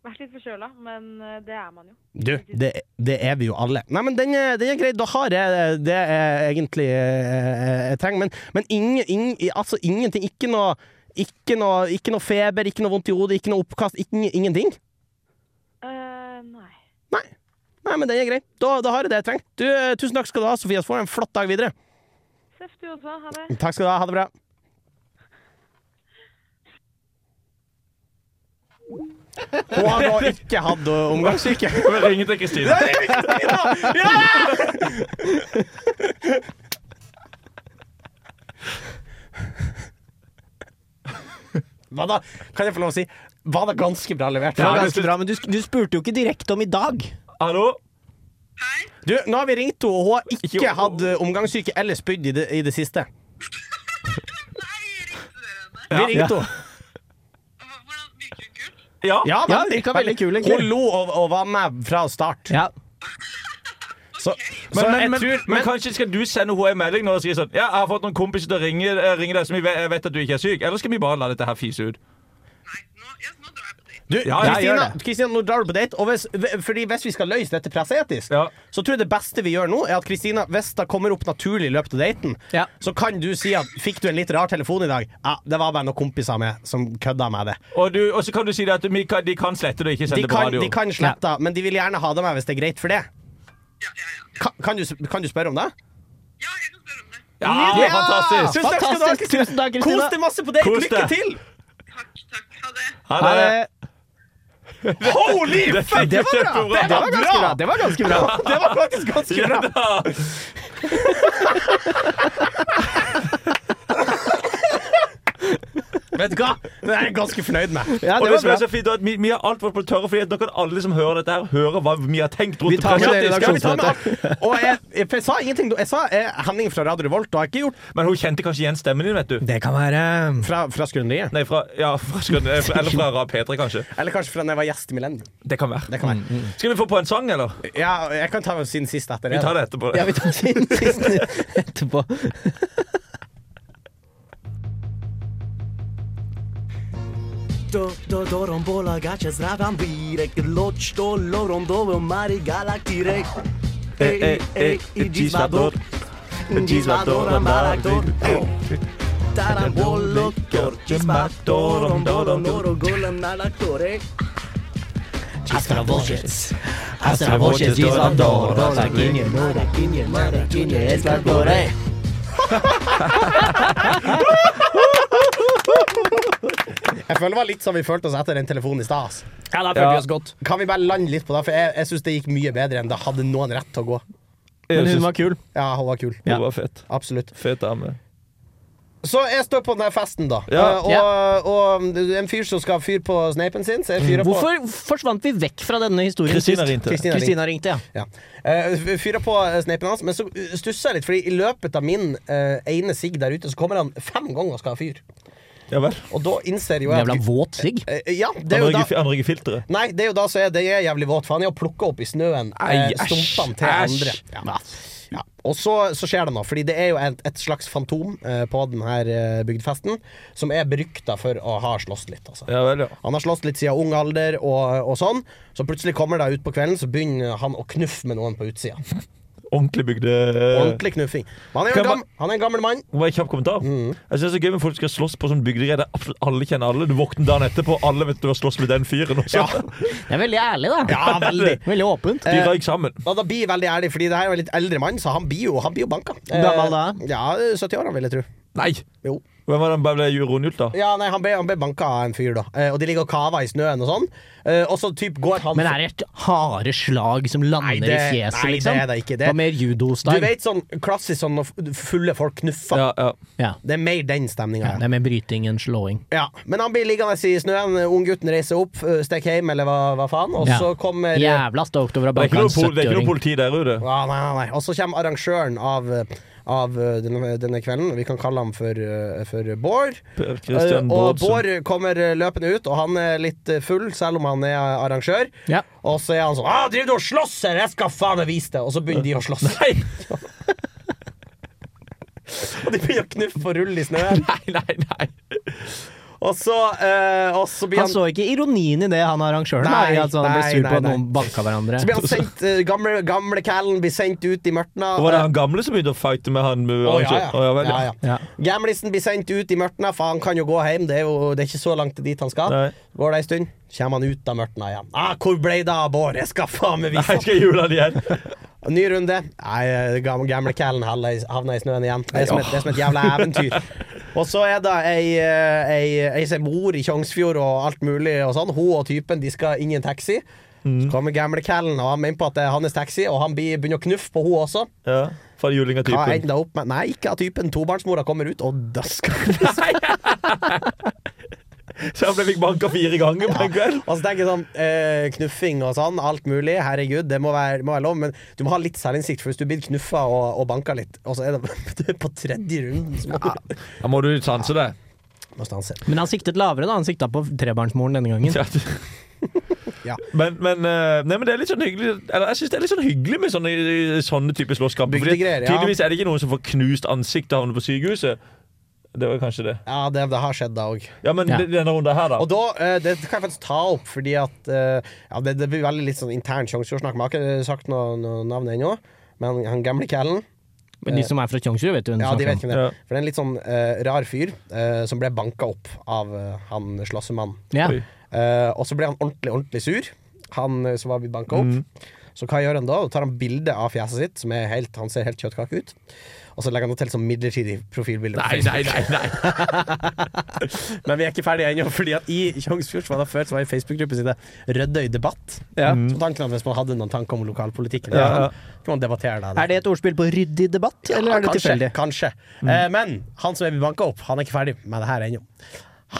S7: Vært litt forkjøla, men eh, det er man jo.
S3: Du, det, det er vi jo alle. Nei, men den er, den er grei. Da har jeg det jeg egentlig eh, jeg trenger. Men, men ingen, ingen, altså ingenting. Ikke noe, ikke, noe, ikke noe feber, ikke noe vondt i hodet, ikke noe oppkast. Ikke, ingenting.
S7: Eh, nei.
S3: Nei. Nei, men den er grei. Da, da har jeg det jeg trenger. Du, eh, tusen takk skal du ha, Sofia. Så får du en flott dag videre.
S7: Seff du også. Ha det.
S3: Takk skal du ha. Ha det bra. Hun har da ikke hatt eh, omgangssyke.
S2: Jeg vil ringe til Kristine.
S3: Hva da? Kan jeg få lov å si? Hva da ganske bra levert?
S1: Det
S2: Ja,
S1: var
S2: det
S1: ganske
S2: synes-
S1: bra, men du, sk- du spurte jo ikke direkte om i dag.
S2: Hallo?
S11: Hei,
S3: Du, nå har vi ringt henne, og hun har
S2: Ikke-
S3: ikke hatt eh, omgangssyke eller spydd i det, i det siste.
S11: nei, ringte dere henne?
S3: Vi ringte henne.
S11: Hva- Hvordan virker hun kul?
S2: Ja.
S3: Ja,
S1: Ja,
S3: veldig,
S1: virka veldig kul, egentlig.
S3: Hun lo og, og var med fra start.
S1: Ja.
S3: Så,
S2: Men,
S3: så
S2: men,
S3: jeg
S2: men,
S3: tror
S2: men kanskje skal du sende henne en melding nå og si sånn Ja, jeg har fått noen kompiser til å ringe, eh, ringe deg som jeg vet- jeg vet at du ikke er syk. Eller skal vi bare la dette her fise ut?
S11: Nei, nå, ja, nå drar jeg på date.
S3: Du,
S2: Ja, jeg
S3: Kristina,
S2: gjør det.
S3: Kristina, nå drar du på date. Og hvis, fordi hvis vi skal løse dette presseetisk,
S2: Ja.
S3: så tror jeg det beste vi gjør nå, er at Kristina, hvis det kommer opp naturlig i løpet av daten,
S1: Ja.
S3: så kan du si at 'fikk du en litt rar telefon i dag'? Ja, det var bare noen kompiser med som kødda med det.
S2: Og, du, og så kan du si det at vi kan, de kan slette det og ikke
S3: De
S2: sende det på
S3: kan,
S2: radio.
S3: de kan slette, men de vil gjerne ha det med hvis det er greit for det.
S11: Ja, ja, ja. ja.
S3: Kan, kan, du, kan du spørre om det?
S11: ja jeg kan spørre om det.
S2: Ja, fantastisk!
S3: Tusen takk skal du ha,
S1: Fantastisk.
S3: Kristina.
S1: Tusen takk, Kristina.
S3: Kos deg masse på date!
S2: Kos
S3: Lykke
S2: deg.
S3: til!
S11: Takk, takk. Ha det.
S2: Ha
S1: Ha
S2: det.
S1: det.
S3: Holy fuck! Det var bra!
S2: kjempebra.
S3: Det
S1: ganske
S3: var
S1: bra.
S3: bra!
S1: Det var ganske
S2: <laughs>
S1: bra.
S3: Det var faktisk ganske bra. Vet du hva? Det er jeg ganske fornøyd med.
S1: Ja, det
S2: Og det
S1: var
S2: som er
S1: bra.
S2: så fint, er at vi, vi har alt vært på det tørre, fordi at nå kan alle som hører dette her, høre hva vi har tenkt rundt
S1: Vi tar med
S2: presset.
S1: det i dag.
S3: Skal vi ta med alt? Og jeg, jeg, jeg sa ingenting. Jeg sa eh, Henning fra Radio Revolt. Og jeg har ikke gjort
S2: Men hun kjente kanskje igjen stemmen din, vet du.
S1: Det kan være mm,
S3: fra, fra Skrøneriet.
S2: Nei, fra, ja, fra, Skrøn- eh, fra- eller fra Ra P3, kanskje.
S3: Eller kanskje fra da jeg var gjest i Millennium.
S2: Det kan være.
S3: Det kan være.
S2: Skal vi få på en sang, eller?
S3: Ja, jeg kan ta siden sist etter
S2: Vi
S3: det.
S2: tar det etterpå.
S1: Ja, vi tar den siste etterpå.
S3: Eh,
S2: Ey, ey,
S1: eh,
S2: ey, Gisvador. Gisvador, Amarador. Tarambolo, Gisvador, Amarador.
S4: voces. Hasta las voces y son todos aquí en el mar, aquí en el mar, aquí en el Salvador.
S3: Jeg føler det var litt som vi følte oss etter den telefonen i stad. ass.
S4: Ja, da
S2: Ja.
S4: følte vi oss godt.
S3: Kan vi bare lande litt på det? For jeg, jeg syns det gikk mye bedre enn det hadde noen rett til å gå.
S2: Jeg
S1: Men hun
S2: synes
S1: var kul.
S3: Ja, hun var kul.
S2: hun var fet.
S3: Absolutt.
S2: Fet dame.
S3: Så jeg står på den der festen, da.
S2: Ja.
S3: Eh, og, og, en fyr som skal fyre på sneipen sin, så jeg fyrer på
S1: Hvorfor forsvant vi vekk fra denne historien
S2: Kristina
S1: sist?
S2: ringte.
S3: Kristina ringte.
S1: Kristina ringte, ja.
S3: Ja. Eh, fyrer på sneipen hans, men så eh, stusser jeg litt, Fordi i løpet av min eh, ene sigg der ute, så kommer han fem ganger og skal ha fyr.
S2: Ja vel.
S3: Og da innser jo jeg
S1: Jævla våt sigg.
S3: Eh, ja, det er
S2: Han
S3: jo da
S2: røyker fi- han røyker filteret.
S3: Nei, det er jo da så er det er jævlig våt, for han er jo plukka opp i snøen. eh,
S2: Ei, æsj,
S3: Stumpene til
S2: æsj.
S3: andre. Ja. Ja. Og så, så skjer det noe, fordi det er jo et, et slags fantom eh, på denne eh, bygdefesten som er berykta for å ha slåss litt, altså.
S2: Ja vel, ja.
S3: Han har slåss litt siden ung alder og, og sånn, så plutselig kommer det ut på kvelden, så begynner han å knuffe med noen på utsida.
S2: Ordentlig bygde
S3: Ordentlig knuffing. Men han er
S2: Eh.
S3: jo
S2: Kan
S3: en,
S2: man-
S3: gam, han er en gammel mann.
S2: Det var en kjapp kommentar.
S3: Mm.
S2: Jeg synes det er gøy med folk som skal slåss på sånn bygdegreie der absolutt alle kjenner alle. Du våkner dagen etterpå, alle vet du har slåss med den fyren også.
S1: Det er veldig ærlig, da.
S3: Ja, veldig.
S1: Veldig åpent.
S2: De
S3: Eh,
S2: røyk sammen.
S3: Og <laughs> da blir jeg veldig ærlig, fordi det her er jo en litt eldre mann, så han blir jo, han blir jo banka. Eh,
S1: Gammel da?
S3: Ja, 70 år, han vil jeg tro.
S2: Nei!
S3: Jo.
S2: Hvem var det han bare ble rundhjult, da?
S3: Ja, nei, han ble, han ble banka av en fyr, da. Eh, og de ligger og kaver i snøen og sånn. Eh, og så typ går han
S1: Men er det et harde slag som lander
S3: Nei, det-
S1: i fjeset,
S3: nei, det
S1: liksom?
S3: er det ikke. Det-
S1: Hva mer
S3: Du
S1: judo-style?
S3: vet sånn klassisk sånn når f- fulle folk knuffer.
S2: Ja, ja.
S1: Ja.
S3: Det er mer den stemninga.
S1: Det er mer bryting enn slåing.
S3: Ja. Men han blir liggende i snøen, unggutten reiser opp, eh, stikker hjem eller hva, hva faen, og
S1: Ja.
S3: så kommer
S1: Jævla stoked over å
S2: Det
S1: banke
S2: er ikke
S1: en
S2: noe, pol det er ikke noe
S1: 70-åring.
S2: politi der ute.
S3: Ja, nei, nei, nei. Og så kommer arrangøren av, av denne, denne kvelden. Vi kan kalle ham for, eh, for Bård.
S2: Per Christian
S3: Eh, og
S2: Bårdsen.
S3: Bård kommer eh, løpende ut, og han er litt eh, full, selv om han er arrangør.
S1: Ja.
S3: Og så er han sånn ah, 'Driver du og slåss her? Jeg skal faen meg vise det!' Og så begynner de å slåss. <laughs> og de begynner å knuffe og rulle i snøen.
S2: <laughs> Nei, nei, nei.
S3: Og så, eh, og så blir
S1: Han
S3: han
S1: så ikke ironien i det, han arrangøren. da,
S3: Nei,
S1: i at han ble
S3: nei,
S1: sur på
S3: nei,
S1: at
S3: nei.
S1: noen banka hverandre.
S3: så blir han sendt, eh, gamle, gamle Callen blir sendt ut i Eh, mørtna.
S2: Og var det han gamle som begynte å fighte med han?
S3: Å, ja, ja.
S2: Å, ja, vel, ja.
S3: Ja, ja.
S1: Ja.
S3: Gamlisen blir sendt ut i mørtna, for han kan jo gå hjem. Det er jo det er ikke så langt dit han skal.
S2: Nei.
S3: Går det ei stund, kommer han ut av mørtna igjen. Ah, 'Hvor ble det av Bård? Jeg skal faen meg vise
S2: Nei, skal jeg jule han
S3: <laughs>
S2: igjen?
S3: Og Ny runde. Nei, eh, gam- gamle Callen havna i havna i snøen igjen. Det er som et, det er som et jævla
S2: <laughs>
S3: eventyr. Og så er det ei, eh, ei, ei som bor i Tjongsfjord og alt mulig og sånn. Hun og typen de skal inn i en taxi.
S2: Mm.
S3: Så kommer gamle Callen og han mener på at det er hans taxi, og han blir- begynner å knuffe på hun også.
S2: Ja, Fra juling av
S3: Hva
S2: typen.
S3: ender det opp med? Nei, ikke av typen. Tobarnsmora kommer ut og dasker.
S2: Så han ble fikk banka fire ganger på en kveld.
S3: Og så tenker jeg sånn eh, Knuffing og sånn, alt mulig, herregud, det må være, må være lov, men du må ha litt selvinnsikt, for hvis du blir knuffa og, og banka litt, og så er det <laughs> du er på tredje runden, så må du
S2: Da må du sanse det.
S3: må stanse.
S1: Men han siktet lavere, da. Han sikta på trebarnsmoren denne gangen.
S2: <laughs> Ja.
S3: Ja.
S2: Men, men, eh, nei, men det er litt sånn hyggelig Eller jeg synes det er litt sånn hyggelig med sånne, sånne type slåsskamper. fordi
S3: Bygdegreier, ja.
S2: Tydeligvis er det ikke noen som får knust ansikt og havner på sykehuset. Det var kanskje det.
S3: Ja, det, det har skjedd, da òg.
S2: Ja, men
S1: Ja.
S2: det- denne runden her, da.
S3: Og da, eh, det kan jeg faktisk ta opp, fordi at eh, ja, det, det blir veldig litt sånn intern sjanseordsnakk. Vi har ikke eh, sagt noe, noe navn ennå, men han gamle callen
S1: Men de som er fra Tjongsrud, vet jo hvem du
S3: Ja, de
S1: snakker
S3: vet
S1: om.
S3: hvem det er.
S2: Ja.
S3: For det er en litt sånn eh, rar fyr eh, som ble banka opp av eh, han slåssemannen.
S1: Ja.
S2: Oi.
S3: Eh, og så ble han ordentlig, ordentlig sur, han eh, som var blitt banka opp.
S2: Mm.
S3: Så hva gjør han da? Da tar han bilde av fjeset sitt, som er helt, han ser helt kjøttkake ut. Og så legger han det til som midlertidig profilbilde. på
S2: Nei,
S3: Facebook.
S2: nei, nei. nei.
S3: Men vi er ikke ferdige ennå, fordi at i Tjongsfjord så var det før så var det en Facebook-gruppe som het Rødøy debatt.
S1: Ja.
S3: Så tanken at hvis man hadde noen tanker om lokalpolitikken,
S2: Ja, ja.
S3: så kunne man debattere det.
S1: Er det et ordspill på ryddig debatt, eller er det
S3: kanskje,
S1: tilfeldig? Mm.
S3: Kanskje. Eh, men han som er banka opp, han er ikke ferdig med det her ennå.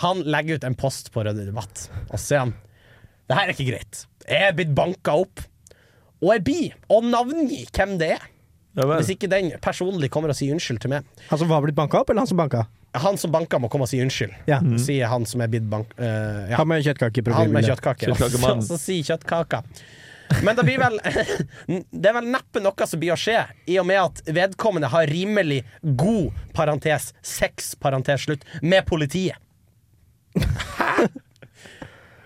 S3: Han legger ut en post på Røde Debatt, og så sier han Det her er ikke greit. Jeg er blitt banka opp, og jeg blir å navngi hvem det er.
S2: Ja, vel.
S3: Hvis ikke den personlig kommer og sier unnskyld til meg.
S4: Han som var blitt banka opp, eller han som banka?
S3: Han som banka, må komme og si unnskyld,
S4: Ja.
S3: sier han som er blitt bank... eh, ja.
S4: Han med
S3: Han med
S4: kjøttkakeprofil.
S3: kjøttkake.
S2: Kjøttkakemannen.
S3: Så, så sier kjøttkaka. Men det blir vel <laughs> Det er vel neppe noe som blir å skje, i og med at vedkommende har rimelig god parentes, seks parentes slutt, med politiet. <laughs>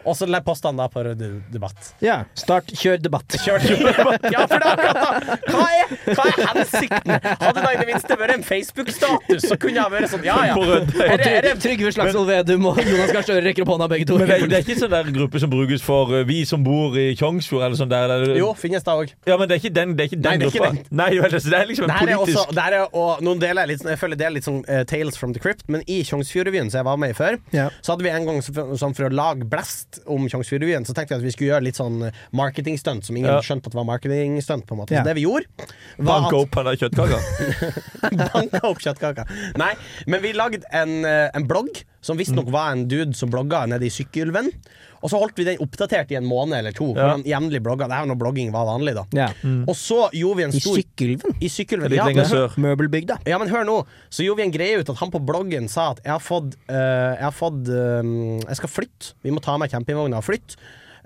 S3: Og så poster han da på Rød debatt.
S4: Ja. Start, kjør debatt.
S3: <laughs> Kjør til debatt. Ja, for det er akkurat da. Hva er Hva er hensikten? Hadde det i det minste vært en Facebook-status, så kunne jeg vært sånn Ja, ja.
S2: <laughs> På Rødt.
S3: Er det, er det,
S4: Trygve Slagsvold Vedum og Jonas Gahr Støre rekker opp hånda, begge to.
S2: Men det, det er ikke sånn der gruppe som brukes for eh, vi som bor i Tjongsfjord eller sånn der. der
S3: jo, finnes det òg.
S2: Ja, men det er ikke den, det er ikke den
S3: Nei, det er ikke
S2: gruppa.
S3: den.
S2: Nei, vel, altså, det er liksom en
S3: Det her er
S2: politisk
S3: også, det her er, og noen deler er litt, sånn- jeg føler det er litt sånn eh, Tales from the Crypt, men i Tjongsfjordrevyen, som jeg var med i før,
S4: Ja.
S3: så hadde vi en gang så- sånn for å lage blest om Tjongsfjordrevyen, så tenkte jeg at vi skulle gjøre litt sånn marketingstunt som ingen
S2: Ja.
S3: skjønte at det var marketingstunt, på en måte.
S4: Ja.
S3: Så det vi gjorde, var
S2: banka
S3: <laughs> at
S2: opp på den kjøttkaka.
S3: Banka opp kjøttkaka. Nei, men vi lagde en, eh, en blogg som
S2: Mm.
S3: visstnok var en dude som blogga nede i Sykkylven. Og så holdt vi den oppdatert i en måned eller to. Hvor han jevnlig blogga. Det er jo når blogging var vanlig, da.
S4: Ja.
S3: Og så gjorde vi en
S4: I
S3: stor
S4: Sykkylven?
S3: I Sykkylven,
S2: Mm. Litt
S3: ja.
S2: lenger sør.
S4: Møbelbygda.
S3: Ja, men hør nå. Så gjorde vi en greie ut at han på bloggen sa at jeg har fått, eh, jeg, har fått eh, jeg skal flytte. Vi må ta med campingvogna og flytte.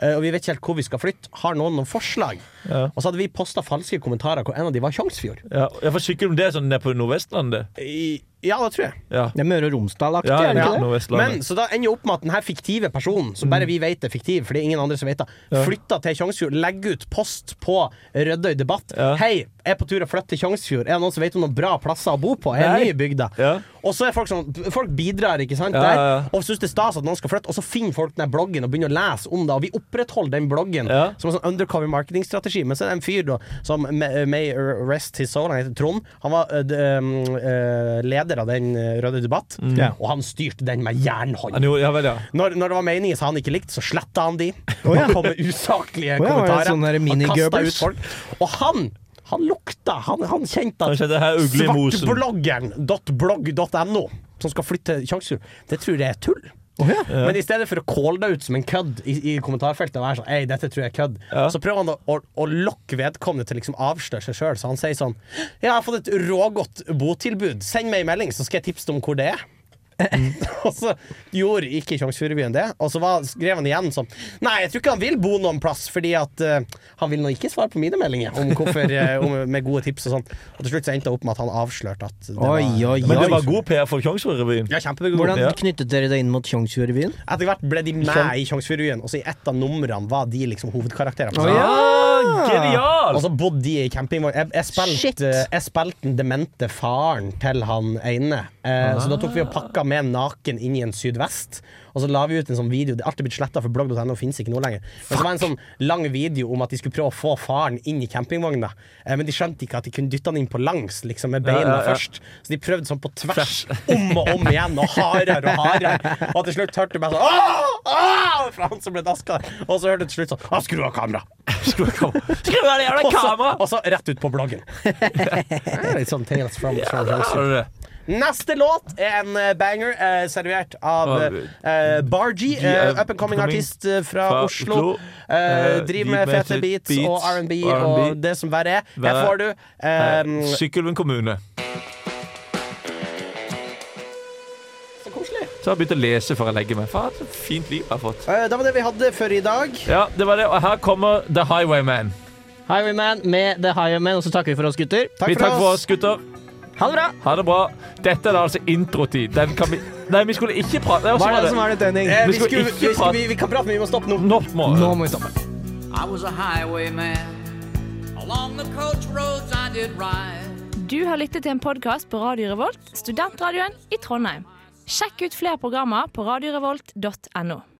S3: Eh, og vi vet ikke helt hvor vi skal flytte. Har noen noen forslag? Og så hadde vi posta falske kommentarer hvor en av de var Tjongsfjord.
S2: Ja, ja, for sykkel det er sånn nede på Nordvestlandet.
S3: I- Ja, det tror jeg.
S2: Ja.
S4: Det er Møre og Romsdal-aktig,
S2: Ja,
S4: er det
S2: ja,
S4: ikke det?
S2: Nordvestlandet.
S3: Men så da ender jo opp med at denne fiktive personen, som bare vi vet er fiktiv, fordi ingen andre som vet det, flytter til Tjongsfjord, legger ut post på Rødøy Debatt.
S2: Ja.
S3: Hei, jeg er på tur å flytte til Tjongsfjord. Er det noen som vet om noen bra plasser å bo på? Jeg er
S2: Nei.
S3: ny i bygda.
S2: Ja.
S3: Og så er folk sånn Folk bidrar, ikke sant,
S2: Ja,
S3: der,
S2: ja, ja.
S3: og syns det er stas at noen skal flytte, og så finner folk den bloggen og begynner å lese om det, og vi opprettholder den bloggen
S2: Ja.
S3: som en sånn undercover marketingstrategi. Men så er det en fyr da, som may, may rest his soul, han heter Trond. Han var eh, d- eh, eh, leder av den eh, Røde Debatt,
S4: Ja.
S3: og han styrte den med jernhånd.
S2: Han gjorde- Ja vel, ja.
S3: Når, når det var meninger som han ikke likte, så sletta han de.
S4: Å, ja.
S3: Han kom med usaklige
S4: Å, ja, var det
S3: kommentarer.
S4: sånn der
S3: han kastet
S4: mini-Goebbels?
S3: ut folk. Og han, han lukta Han, han kjente
S2: Han
S3: at
S2: kjente, her er ugle i mosen.
S3: svartbloggeren.blogg.no, som skal flytte til Tjongsfjord, det tror jeg er tull. Men i stedet for å calle det ut som en kødd i, i kommentarfeltet, og være sånn, Ei, dette tror jeg er kødd så prøver han å, å, å lokke vedkommende til å liksom avsløre seg sjøl. Så han sier sånn Ja, jeg har fått et rågodt botilbud. Send meg en melding, så skal jeg tipse deg om hvor det er.
S4: Mm.
S3: <laughs> og så gjorde ikke Tjongsfjordbyen det. Og så var, skrev han igjen sånn Nei, jeg tror ikke han vil bo noen plass, fordi at eh, han vil nå ikke svare på mine meldinger om hvorfor, eh, om, med gode tips og sånn. Og til slutt så endte det opp med at han avslørte at det
S4: Oi, oi,
S2: Men
S4: oi.
S2: det var god PR for Tjongsfjordrevyen.
S3: Ja, kjempegod.
S4: Hvordan
S2: Ja.
S4: knyttet dere det inn mot Tjongsfjordrevyen?
S3: Etter hvert ble de med i Tjongsfjordbyen, og så i ett av numrene var de liksom hovedkarakterene.
S2: Ah,
S3: Og
S2: genial! <laughs>
S3: så bodde de i campingvogn. Jeg, jeg,
S4: Shit.
S3: spilte- jeg spilte den demente faren til han ene. Eh, Så da tok
S2: Ah.
S3: vi og pakka med naken inn i en sydvest. Og så la vi ut en sånn video. Det er alltid blitt sletta, for blogg.no fins ikke nå lenger. Men så var det en sånn lang video om at de skulle prøve å få faren inn i campingvogna. Eh, Men de skjønte ikke at de kunne dytte han inn på langs, liksom, med beina
S2: Ja, ja, ja.
S3: først. Så de prøvde sånn på tvers, <laughs> om og om igjen, og hardere og hardere. Og til slutt hørte du bare sånn Åh! Åh! Fra han som ble daska. Og så hørte du til slutt sånn «Åh, Skru av kameraet!
S2: Skru av det jævla
S3: Og så,
S2: kameraet!
S3: og så rett ut på bloggen. Det er litt sånn Tales from, from
S2: Har du det?
S3: Neste låt er en eh, banger eh, servert av eh, Bargy. eh, up and coming artist eh, fra,
S2: fra
S3: Oslo.
S2: Oslo.
S3: Eh,
S2: Eh,
S3: driver med fete beats og R&B og det som verre er. Her
S2: Verre.
S3: får du eh,
S2: Sykkylven kommune.
S3: Så koselig.
S2: Så har jeg begynt å lese før jeg legger meg. Faen, så fint liv jeg har fått.
S3: Eh, det var det vi hadde for i dag.
S2: Ja, det var det. Og her kommer The Highwayman.
S4: Highwayman med The Highwayman, og så takker vi for oss, gutter.
S2: Vi takker for oss, gutter.
S4: Ha det bra!
S2: Ha det bra. Dette er da altså introtid. Den kan vi Nei, vi skulle ikke prate Det var
S4: Hva
S2: sånn
S4: er det
S2: det-
S4: som er ditt ending?
S3: Eh,
S2: Vi
S3: vi,
S2: skulle
S3: skulle, vi,
S2: ikke
S3: skulle,
S2: prate-
S3: vi, vi kan prate, men vi må stoppe nå.
S2: Nå må
S4: Nå må vi stoppe.
S14: I was a highwayman. Along the coach roads I did ride.
S15: Du har lyttet til en podkast på Radio Revolt, studentradioen i Trondheim. Sjekk ut flere programmer på radiorevolt.no.